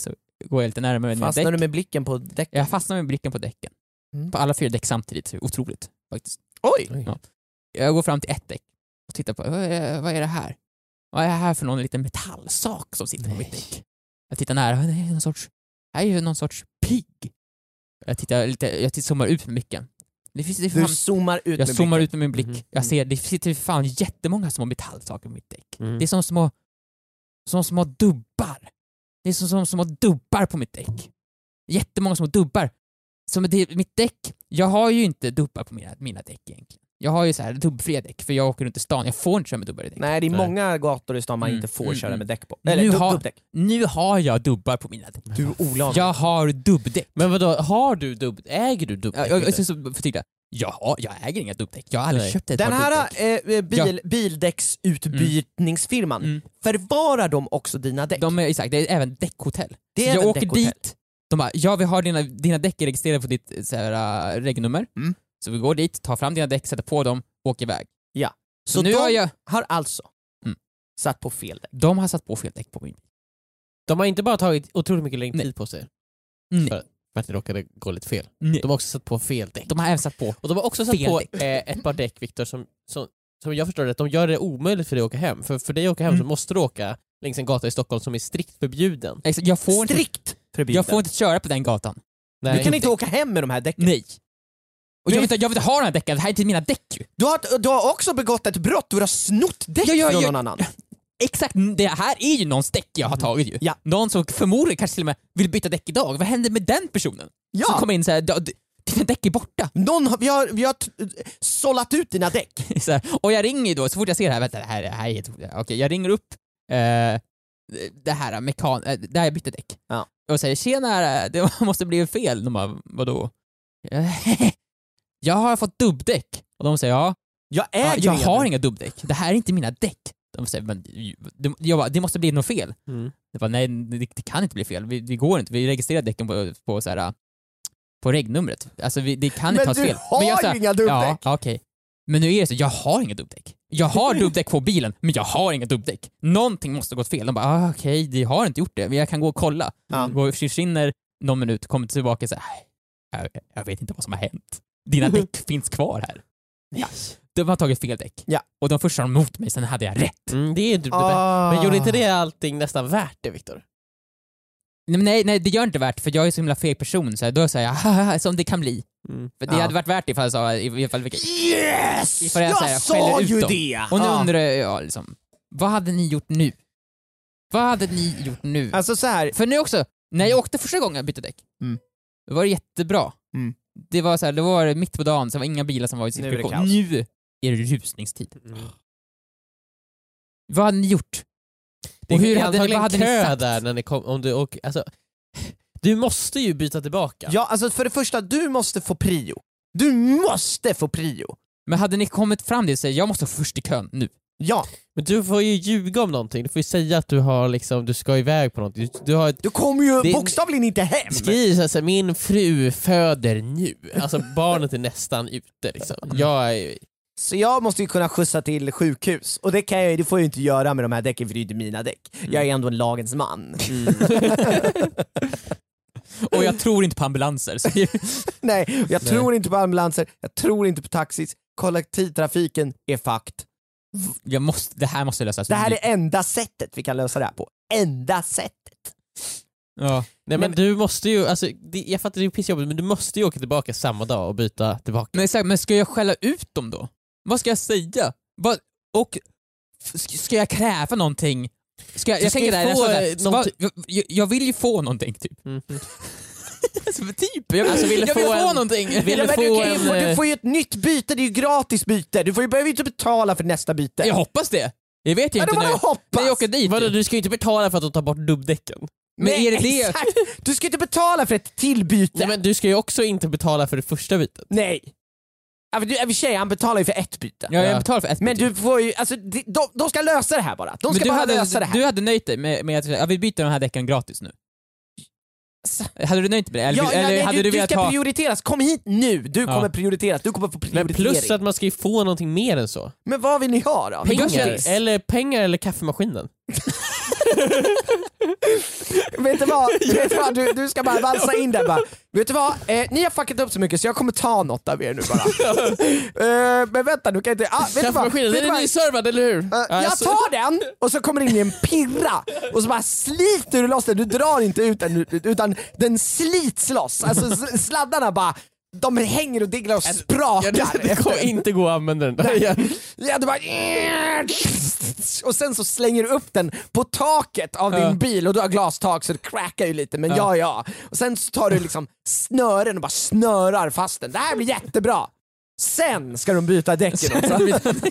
Speaker 4: Så går jag lite närmare mina däck.
Speaker 3: Fastnar du med blicken på däck?
Speaker 4: Jag fastnar med blicken på däcken.
Speaker 3: Mm.
Speaker 4: På alla fyra däck samtidigt. Otroligt faktiskt.
Speaker 3: Oj!
Speaker 2: Oj.
Speaker 4: Ja. Jag går fram till ett däck och tittar på, vad är, vad är det här? Vad är det här för någon liten metallsak som sitter på mitt
Speaker 2: Nej.
Speaker 4: däck? Jag tittar nära, det är någon sorts, här är ju någon sorts pigg. Jag tittar lite, jag tittar, zoomar ut med blicken. Det finns, det är
Speaker 3: Du
Speaker 4: fan,
Speaker 3: zoomar ut
Speaker 4: jag
Speaker 3: med Mm-hmm.
Speaker 4: zoomar
Speaker 3: blicken.
Speaker 4: ut med min blick,
Speaker 2: Mhm.
Speaker 4: jag ser, det sitter ju fan jättemånga små metallsaker på mitt däck.
Speaker 2: Mm.
Speaker 4: Det är som små, som små dubbar. Det är som, som små dubbar på mitt däck. Jättemånga små dubbar. Som det, mitt däck, jag har ju inte dubbar på mina, mina däck egentligen. Jag har ju så här dubbfria däck, för jag åker runt i stan, jag får inte köra med dubbar i däck.
Speaker 3: Nej, det är
Speaker 2: Nej.
Speaker 3: många gator i stan man
Speaker 4: Mm,
Speaker 3: inte får
Speaker 4: mm,
Speaker 3: köra
Speaker 4: mm.
Speaker 3: med däck på.
Speaker 4: Nu
Speaker 3: Eller dub,
Speaker 4: har-
Speaker 3: dubbdäck.
Speaker 4: Nu har jag dubbar på mina däck.
Speaker 3: Du är olaglig.
Speaker 4: Jag har dubbdäck.
Speaker 2: Men vadå, har du dubb... Äger du dubbdäck?
Speaker 4: Jag, jag, jag, så- så- förtydliga. jag, har, jag äger inga dubbdäck, jag har aldrig
Speaker 2: Nej.
Speaker 4: köpt ett
Speaker 3: Den
Speaker 4: par
Speaker 3: här
Speaker 4: dubbdäck.
Speaker 3: eh, bil, bildäcksutbytningsfirman,
Speaker 4: Mm.
Speaker 3: förvarar de också dina däck?
Speaker 4: De är, exakt, det är även däckhotell.
Speaker 3: det
Speaker 4: Så jag
Speaker 3: även
Speaker 4: åker
Speaker 3: däckhotell.
Speaker 4: dit, de bara ja vi har dina, dina däck är registrerade på ditt eh, så här, äh, regnummer.
Speaker 3: Mm.
Speaker 4: Så vi går dit, tar fram dina däck, sätter på dem, åker iväg.
Speaker 3: Ja.
Speaker 4: Så,
Speaker 3: Så
Speaker 4: nu Mm.
Speaker 3: de-
Speaker 4: har jag...
Speaker 3: Har alltså satt på fel däck.
Speaker 4: De har satt på fel däck på min bil.
Speaker 2: De har inte bara tagit otroligt mycket längre
Speaker 4: Nej.
Speaker 2: tid på sig
Speaker 4: Nej.
Speaker 2: För- för att det råkade gå lite fel.
Speaker 4: Nej.
Speaker 2: De har också satt på fel däck.
Speaker 4: De har även satt på...
Speaker 2: Och de har också satt
Speaker 4: Fel
Speaker 2: på
Speaker 4: däck.
Speaker 2: eh, ett par däck, Viktor, som, som, som jag förstår det, att de gör det omöjligt för dig att åka hem. För, för dig att åka hem
Speaker 4: Mm.
Speaker 2: så måste du åka längs en gata i Stockholm som är strikt förbjuden.
Speaker 4: Exakt, Jag får, inte,
Speaker 3: Strikt förbjuden.
Speaker 4: jag får inte köra på den gatan.
Speaker 2: Nej.
Speaker 3: Du kan inte åka hem med de här däcken.
Speaker 4: Nej. Och jag
Speaker 3: Men-
Speaker 4: vill, inte, jag vill inte ha den här däcken, det här är inte mina däck ju.
Speaker 3: Du har, du har också begått ett brott, du har snott däck
Speaker 4: Ja, ja,
Speaker 3: från
Speaker 4: ja.
Speaker 3: någon annan.
Speaker 4: Exakt, det här är ju någons däck jag har tagit ju.
Speaker 3: Ja.
Speaker 4: Någon som förmodligen kanske till och med vill byta däck idag. Vad händer med den personen?
Speaker 3: Ja.
Speaker 4: Som kommer in såhär, "Ja, d- dina däck är borta.
Speaker 3: Någon har, vi har, vi har t- sållat ut dina däck.
Speaker 4: Så här, och jag ringer ju då, så fort jag ser det här, vänta det här, det här är helt Okej, jag ringer upp eh, det här mekan... eh, Där jag bytte däck.
Speaker 3: Ja.
Speaker 4: Och säger tjena, det måste bli fel. De bara, vadå? Jag har fått dubbdäck. Och de säger ja,
Speaker 3: Jag äger
Speaker 4: ja jag
Speaker 3: inga
Speaker 4: har
Speaker 3: däck.
Speaker 4: inga dubbdäck. Det här är inte mina däck. De säger, men det- jag bara, det måste bli något fel.
Speaker 2: Mm.
Speaker 4: Jag bara, nej det, det kan inte bli fel, vi, det går inte, vi registrerar däcken på, på så här, på regnumret. Alltså vi, det kan inte
Speaker 3: Men
Speaker 4: tas
Speaker 3: du
Speaker 4: fel.
Speaker 3: har
Speaker 4: jag så här,
Speaker 3: inga dubbdäck.
Speaker 4: Ja, okej. Men nu är det så, jag har inga dubbdäck. Jag har dubbdäck på bilen, men jag har inga dubbdäck. Någonting måste ha gått fel. De bara, ah, okej, okay, jag har inte gjort det, men jag kan gå och kolla.
Speaker 3: Ja.
Speaker 4: Går, försvinner någon minut, kommer tillbaka och säger, jag, jag vet inte vad som har hänt. Dina
Speaker 3: Mhm.
Speaker 4: däck finns kvar här.
Speaker 3: Ja.
Speaker 4: De har tagit fel däck.
Speaker 3: Ja.
Speaker 4: Och de första var mot mig, sen hade jag rätt.
Speaker 2: Mm, det är du det bästa.
Speaker 3: Ah.
Speaker 2: Men gjorde inte det allting nästan värt det, Viktor?
Speaker 4: Nej, men nej, nej, det gör inte värt för jag är så himla feg person så här, då säger jag "Haha, som det kan bli.
Speaker 2: Mm.
Speaker 4: För det
Speaker 3: Ja.
Speaker 4: hade varit värt det ifall jag sa ifall vi...
Speaker 3: Yes!
Speaker 4: Ifall jag
Speaker 3: jag
Speaker 4: så här
Speaker 3: sa
Speaker 4: skäller ut
Speaker 3: ju
Speaker 4: dem.
Speaker 3: det! Ah.
Speaker 4: Och nu
Speaker 3: Ja.
Speaker 4: undrar jag liksom, vad hade ni gjort nu? Vad hade ni gjort nu?
Speaker 3: Alltså så här.
Speaker 4: För nu också, när jag åkte första gången jag bytte däck,
Speaker 3: Mm.
Speaker 4: det var det jättebra.
Speaker 3: Mm.
Speaker 4: Det var så här, det var mitt på dagen, så det var inga bilar som var i
Speaker 3: Nu är det
Speaker 4: cirkulation.
Speaker 3: kaos.
Speaker 4: Nu är det rusningstid. Vad hade ni gjort? Och hur
Speaker 2: är
Speaker 4: hade, ni-
Speaker 2: antagligen
Speaker 4: vad hade
Speaker 2: kö
Speaker 4: ni sagt?
Speaker 2: där när ni kom, om du åker, alltså, Du måste ju byta tillbaka.
Speaker 3: Ja, alltså för det första, du måste få prio. Du måste få prio!
Speaker 4: Men hade ni kommit fram till och sagt jag måste först i kön nu?
Speaker 3: Ja,
Speaker 2: Men du får ju ljuga om någonting, du får ju säga att du har liksom, du ska iväg på någonting. Du, du har ett
Speaker 3: du kommer ju
Speaker 2: Det-
Speaker 3: bokstavligen inte hem!
Speaker 2: Skriv såhär, så här, min fru föder nu. Alltså barnet är nästan ute liksom.
Speaker 4: Mm.
Speaker 2: Jag är,
Speaker 3: Så jag måste ju kunna skjutsa till sjukhus, och det, kan jag, ju- det får jag ju inte göra med de här däcken för det är ju inte mina däck. Jag är ändå en lagens man.
Speaker 4: Och jag tror inte på ambulanser. Så
Speaker 3: Nej, jag tror inte på ambulanser, jag tror inte på taxis, kollektivtrafiken är fakt.
Speaker 4: jag måste, det här måste lösas.
Speaker 3: Det här är enda sättet vi kan lösa det här på. Enda sättet!
Speaker 4: Ja.
Speaker 2: nej men du måste ju, alltså, det, jag fattar det är pissjobbigt men du måste ju åka tillbaka samma dag och byta tillbaka.
Speaker 4: Men, exakt, men ska jag skälla ut dem då? Vad ska jag säga? Vad, och f- sk- ska jag kräva någonting? Ska jag,
Speaker 2: Du
Speaker 4: jag
Speaker 2: ska
Speaker 4: tänker
Speaker 2: ju
Speaker 4: där, jag,
Speaker 2: få,
Speaker 4: sa
Speaker 2: eh,
Speaker 4: där, så
Speaker 2: någonting-
Speaker 4: vad- jag, jag vill ju få någonting typ.
Speaker 2: Mm.
Speaker 4: Alltså, men typ, jag,
Speaker 2: Alltså,
Speaker 4: vill,
Speaker 2: vill du
Speaker 4: jag vill
Speaker 2: få
Speaker 4: få
Speaker 2: en-
Speaker 4: någonting.
Speaker 2: vill
Speaker 3: Ja, men
Speaker 2: du
Speaker 3: du,
Speaker 2: få
Speaker 3: kan ju
Speaker 2: en,
Speaker 3: få, du
Speaker 2: eh,
Speaker 3: får ju ett nytt byte, det är ju gratis byte! Du får ju, behöver ju inte betala för nästa byte.
Speaker 4: Jag hoppas det. Jag vet ju
Speaker 3: Ja,
Speaker 4: inte när
Speaker 3: då
Speaker 4: jag,
Speaker 3: var
Speaker 4: när jag
Speaker 3: hoppas!
Speaker 4: åker dit.
Speaker 2: Vadå, du ska ju inte betala för att de tar bort dubbdäcken?
Speaker 4: men
Speaker 3: Nej,
Speaker 4: är det det?
Speaker 3: Exakt. Du ska inte betala för ett till byte.
Speaker 2: Nej men du ska ju också inte betala för det första bytet.
Speaker 3: Nej. Ja, men du, i och för sig, han betalar ju för ett byte.
Speaker 4: Ja,
Speaker 2: Ja.
Speaker 4: jag betalar för ett
Speaker 3: Men
Speaker 4: byte.
Speaker 3: du får ju, alltså de, de, de ska lösa det här bara. De
Speaker 4: Men
Speaker 3: ska
Speaker 4: du
Speaker 3: bara
Speaker 4: hade,
Speaker 3: lösa det här.
Speaker 4: Du hade nöjt dig med, med att ja, vi byter de här däcken gratis nu? Hade du nöjt dig med det? Eller,
Speaker 3: ja, ja,
Speaker 4: eller
Speaker 3: nej,
Speaker 4: hade
Speaker 3: du,
Speaker 4: du,
Speaker 3: du
Speaker 4: velat
Speaker 3: ska
Speaker 4: ha...
Speaker 3: prioriteras, kom hit nu! Du
Speaker 4: Ja.
Speaker 3: kommer prioriteras, du kommer få
Speaker 2: Men
Speaker 3: prioritering.
Speaker 2: plus att man ska ju få någonting mer än så.
Speaker 3: Men vad vill ni ha då?
Speaker 4: Pengar.
Speaker 3: Godis?
Speaker 2: Eller pengar eller kaffemaskinen.
Speaker 3: Vet du vad? Vet du, vad? Du, du ska bara valsa in där bara. Vet du vad? Eh, ni har fuckat upp så mycket så jag kommer ta något av er nu bara. eh, men vänta nu kan jag inte... Ah, vet du vad?
Speaker 2: Kaffemaskinen,
Speaker 3: Vet du
Speaker 2: den är
Speaker 3: vad?
Speaker 2: nyservad eller hur?
Speaker 3: Eh,
Speaker 2: Ja, alltså-
Speaker 3: jag
Speaker 2: så-
Speaker 3: tar den och så kommer det in en pirra och så bara sliter du loss den, du drar inte ut den utan den slits loss. Alltså s- sladdarna bara, de hänger och dinglar och
Speaker 2: Alltså, Ja,
Speaker 3: sprakar.
Speaker 2: det
Speaker 3: efter
Speaker 2: kommer
Speaker 3: den.
Speaker 2: inte gå att använda den där igen.
Speaker 3: Ja, du bara... Och sen så slänger du upp den på taket av
Speaker 4: Ja.
Speaker 3: din bil och du har glastak så det crackar ju lite men ja ja. Och sen så tar du liksom snören och bara snörar fast den. Det här blir jättebra! Sen ska de byta däcken också.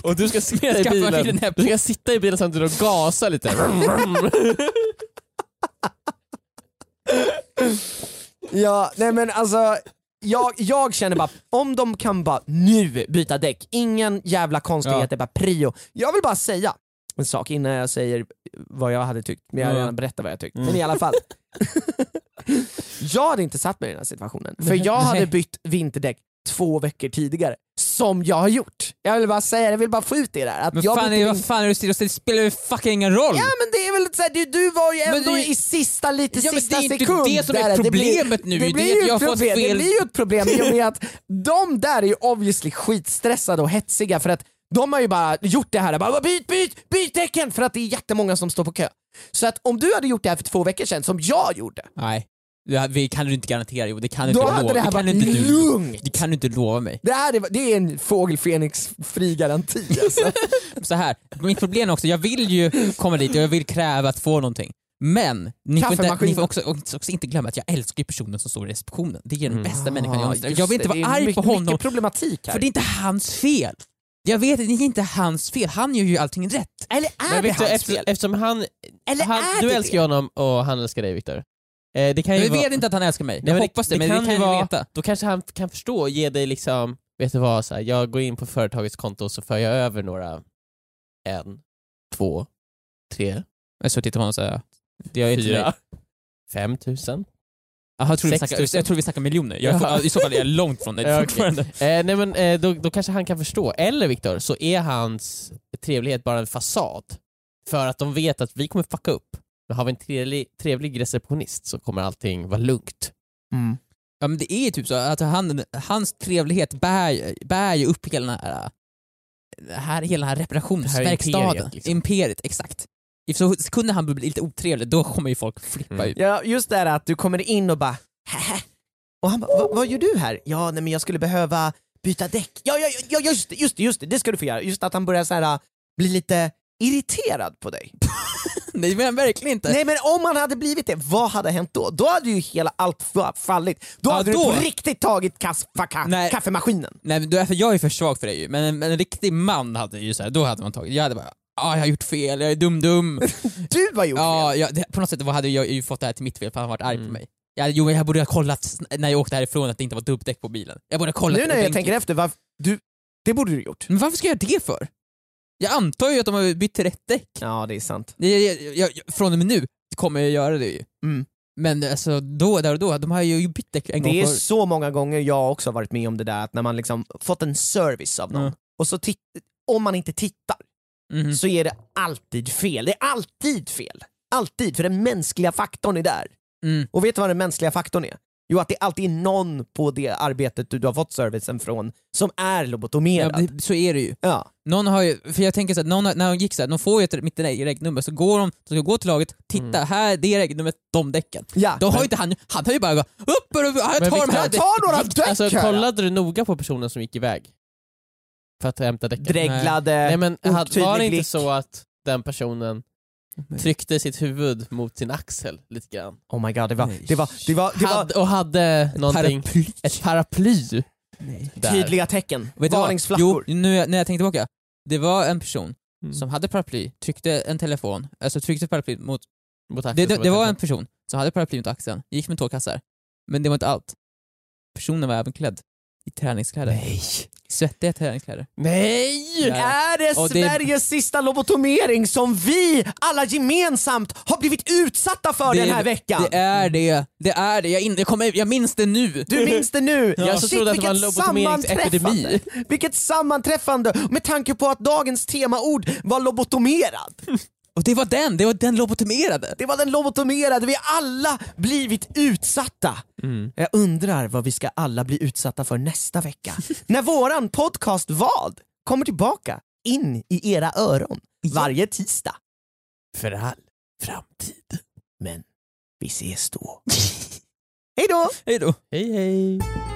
Speaker 2: Och du ska sitta i
Speaker 4: Skaffa bilen
Speaker 2: bilen,
Speaker 4: här på-
Speaker 2: du ska sitta i bilen samtidigt och gasa lite.
Speaker 3: Ja, nej men alltså, jag, jag känner bara, om de kan bara nu byta däck, ingen jävla konstighet, det är bara prio. Jag vill bara säga en sak innan jag säger vad jag hade tyckt, men jag har
Speaker 4: Ja. Mm.
Speaker 3: redan berättat vad jag tyckt. Men i alla fall. jag hade inte satt mig i den här situationen, för jag hade
Speaker 4: Nej.
Speaker 3: bytt vinterdäck två veckor tidigare. Som jag har gjort. Jag vill bara säga det, jag vill bara få ut det där. Att
Speaker 4: Men
Speaker 3: jag
Speaker 4: fan,
Speaker 3: bytte
Speaker 4: är,
Speaker 3: min-
Speaker 4: vad fan är du Det spelar ju fucking ingen roll!
Speaker 3: Ja men det är väl lite såhär, du, du var ju
Speaker 4: Men
Speaker 3: ändå
Speaker 4: det-
Speaker 3: i sista, lite
Speaker 4: Ja, men
Speaker 3: sista
Speaker 4: det är ju inte
Speaker 3: sekund.
Speaker 4: det som är
Speaker 3: där.
Speaker 4: problemet nu, det är
Speaker 3: Det blir
Speaker 4: att
Speaker 3: ju
Speaker 4: jag har
Speaker 3: ett
Speaker 4: fått
Speaker 3: problem, det
Speaker 4: fel-
Speaker 3: blir ju ett problem i och med att de där är ju obviously skitstressade och hetsiga för att de har ju bara gjort det här, bara, byt, byt, byt tecken! För att det är jättemånga som står på kö. Så att om du hade gjort det här för två veckor sedan, som jag gjorde,
Speaker 4: Nej, det vi kan du inte garantera. Jo, det kan du
Speaker 3: då
Speaker 4: inte
Speaker 3: hade
Speaker 4: lova.
Speaker 3: det här
Speaker 4: kan du
Speaker 3: varit
Speaker 4: inte du,
Speaker 3: lugnt.
Speaker 4: det kan du inte lova mig.
Speaker 3: Det här är, det är en fågel Fenix-fri garanti alltså.
Speaker 4: Så här, mitt problem är också, jag vill ju komma dit och jag vill kräva att få någonting. Men ni får, inte,
Speaker 3: Kaffemaskinen.
Speaker 4: ni får också, också inte glömma att jag älskar ju personen som står i receptionen. Det är den
Speaker 2: Mm.
Speaker 4: bästa människan jag
Speaker 3: Ja,
Speaker 4: någonsin
Speaker 3: just
Speaker 4: Jag vill
Speaker 3: det,
Speaker 4: inte
Speaker 3: det
Speaker 4: vara
Speaker 3: är
Speaker 4: arg på
Speaker 3: mycket-
Speaker 4: honom,
Speaker 3: Mycket problematik här.
Speaker 4: för det är inte hans fel. Jag vet att det är inte hans fel, han gör ju allting rätt.
Speaker 3: Eller är det
Speaker 2: Victor,
Speaker 3: hans
Speaker 2: efter,
Speaker 3: fel?
Speaker 2: eftersom han...
Speaker 3: Eller
Speaker 2: han
Speaker 3: är
Speaker 2: du
Speaker 3: det
Speaker 2: älskar
Speaker 3: det?
Speaker 2: ju honom och han älskar dig Viktor. Eh, det kan
Speaker 4: Jag
Speaker 2: ju
Speaker 4: vet
Speaker 2: vara,
Speaker 4: inte att han älskar mig,
Speaker 2: Nej,
Speaker 4: jag
Speaker 2: men det-
Speaker 4: hoppas det,
Speaker 2: det
Speaker 4: men
Speaker 2: kan
Speaker 4: det
Speaker 2: ju
Speaker 4: kan jag
Speaker 2: vara-
Speaker 4: ju veta.
Speaker 2: Då kanske han kan förstå och ge dig liksom, vet du vad, så här, jag går in på företagets konto och så för jag över några, en, två, tre,
Speaker 4: Jag har suttit på honom och sagt, jag är inte nöjd.
Speaker 2: fyra, fem tusen.
Speaker 4: Jaha, jag tror vi
Speaker 2: 6 000.
Speaker 4: snackar- jag tror vi snackar miljoner. Jag,
Speaker 2: Ja.
Speaker 4: I så fall är jag långt från
Speaker 2: Ja,
Speaker 4: det
Speaker 2: okej.
Speaker 4: fortfarande.
Speaker 2: Eh, nej men eh, då, då kanske han kan förstå. Eller Viktor, så är hans trevlighet bara en fasad. För att de vet att vi kommer fucka upp. Men har vi en trevlig, trevlig receptionist så kommer allting vara lugnt.
Speaker 3: Mm.
Speaker 4: Ja men det är ju typ så att han, hans trevlighet bär, bär ju upp hela den här, det här, hela den här reparationsverkstaden.
Speaker 2: imperiet,
Speaker 4: Imperiet,
Speaker 2: liksom.
Speaker 4: exakt. Så kunde han bli lite otrevlig, då kommer ju folk flippa
Speaker 2: Mm.
Speaker 4: ut.
Speaker 3: Ja, just det här att du kommer in och bara Hähä. Och han bara, "Va- vad gör du här? Ja, nej men jag skulle behöva byta däck. Ja, ja, ja just det, just det, just det, det ska du få göra. Just att han börjar så här äh, bli lite irriterad på dig.
Speaker 4: Nej men verkligen inte.
Speaker 3: Nej men om han hade blivit det, vad hade hänt då? Då hade ju hela allt fa- fallit. Då
Speaker 4: Ja,
Speaker 3: hade
Speaker 4: då.
Speaker 3: du på riktigt tagit kass, fucka,
Speaker 4: Nej.
Speaker 3: kaffemaskinen.
Speaker 4: Nej men du är för, jag är för svag för det ju, men en, men en riktig man hade ju så här, då hade man tagit, jag hade bara ah, jag har gjort fel, jag är dum-dum.
Speaker 3: Du har gjort fel.
Speaker 4: ja, jag, det, på något sätt hade jag ju fått det här till mitt fel för han varit
Speaker 3: Mm.
Speaker 4: arg på mig. Jag, jo, jag borde ha kollat sn- när jag åkte härifrån att det inte var dubbdäck på bilen. Jag borde ha kollat
Speaker 3: Nu när jag
Speaker 4: ordentligt.
Speaker 3: tänker efter, varf- du, det borde du gjort.
Speaker 4: Men varför ska jag göra det för? Jag antar ju att de har bytt till rätt däck.
Speaker 3: Ja, det är sant.
Speaker 4: Jag, jag, jag, från och med nu kommer jag göra det ju.
Speaker 3: Mm.
Speaker 4: Men alltså då, där och då, de har ju bytt däck en gång
Speaker 3: Det är
Speaker 4: förr.
Speaker 3: så många gånger jag också har varit med om det där, att när man liksom fått en service av någon,
Speaker 4: Ja.
Speaker 3: och så tit- om man inte tittar
Speaker 4: Mhm.
Speaker 3: så är det alltid fel. Det är alltid fel. Alltid, för den mänskliga faktorn är där.
Speaker 4: Mm.
Speaker 3: Och vet du vad den mänskliga faktorn är? Jo, att det alltid är någon på det arbetet du, du har fått servicen från som är
Speaker 4: Ja,
Speaker 3: lobotomerad. Ja,
Speaker 4: det, så är det ju. Någon har ju, för jag tänker såhär, någon, har- när de gick såhär, de får ju ett, mitt regnummer, så går de, så ska gå till laget, titta,
Speaker 3: Mm.
Speaker 4: här, det är regnumret, de däcken.
Speaker 3: ja.
Speaker 4: Då har ju inte han, han har ju bara gått upp och upp, jag tar
Speaker 2: Men
Speaker 4: de
Speaker 2: Victor,
Speaker 4: här
Speaker 2: ta
Speaker 4: däcken."
Speaker 3: Ta några däck
Speaker 2: Alltså
Speaker 3: här!
Speaker 2: kollade du noga på personen som gick iväg? För att hämta däcken?
Speaker 3: Dreglade,
Speaker 2: Nej men hade, var det
Speaker 3: otydlig
Speaker 2: inte
Speaker 3: blick.
Speaker 2: så att den personen tryckte sitt huvud mot sin axel lite grann?
Speaker 3: Oh my god, det var, det var, det var, det var
Speaker 2: Hade, och hade någonting,
Speaker 4: Paraply.
Speaker 2: ett paraply
Speaker 4: Nej.
Speaker 2: där.
Speaker 3: tydliga tecken.
Speaker 4: Vet du vad?
Speaker 3: Varningsflackor.
Speaker 4: Jo, nu, när jag tänkte tillbaka. Det var en person
Speaker 2: Mm.
Speaker 4: som hade paraply, tryckte en telefon, alltså tryckte paraply mot...
Speaker 2: Mot
Speaker 4: Det,
Speaker 2: axeln
Speaker 4: det,
Speaker 2: som
Speaker 4: det
Speaker 2: ett
Speaker 4: var
Speaker 2: paraply.
Speaker 4: en person som hade paraply mot axeln, gick med tårkassar. Men det var inte allt. Personen var även klädd i träningskläder. Nej. Svettiga träningskläder.
Speaker 2: Nej!
Speaker 4: Ja.
Speaker 3: Är det
Speaker 4: Och det-
Speaker 3: Sveriges sista lobotomering som vi alla gemensamt har blivit utsatta för
Speaker 4: Det-
Speaker 3: den här veckan?
Speaker 4: Det är det, det är det. Jag, in, jag, kommer, jag minns det nu.
Speaker 3: Du minns det nu!
Speaker 2: Jag så trodde att det var en
Speaker 3: vilket
Speaker 2: lobotomeringsepidemi.
Speaker 3: sammanträffande. Vilket sammanträffande! Med tanke på att dagens temaord var lobotomerad.
Speaker 4: Och det var den, det var den lobotomerade.
Speaker 3: Det var den lobotomerade, vi har alla blivit utsatta. Jag undrar vad vi ska alla bli utsatta för nästa vecka. När våran podcast Vad kommer tillbaka in i era öron varje tisdag.
Speaker 2: För all framtid.
Speaker 3: Men vi ses då. Hej då!
Speaker 4: Hej då.
Speaker 2: Hej hej!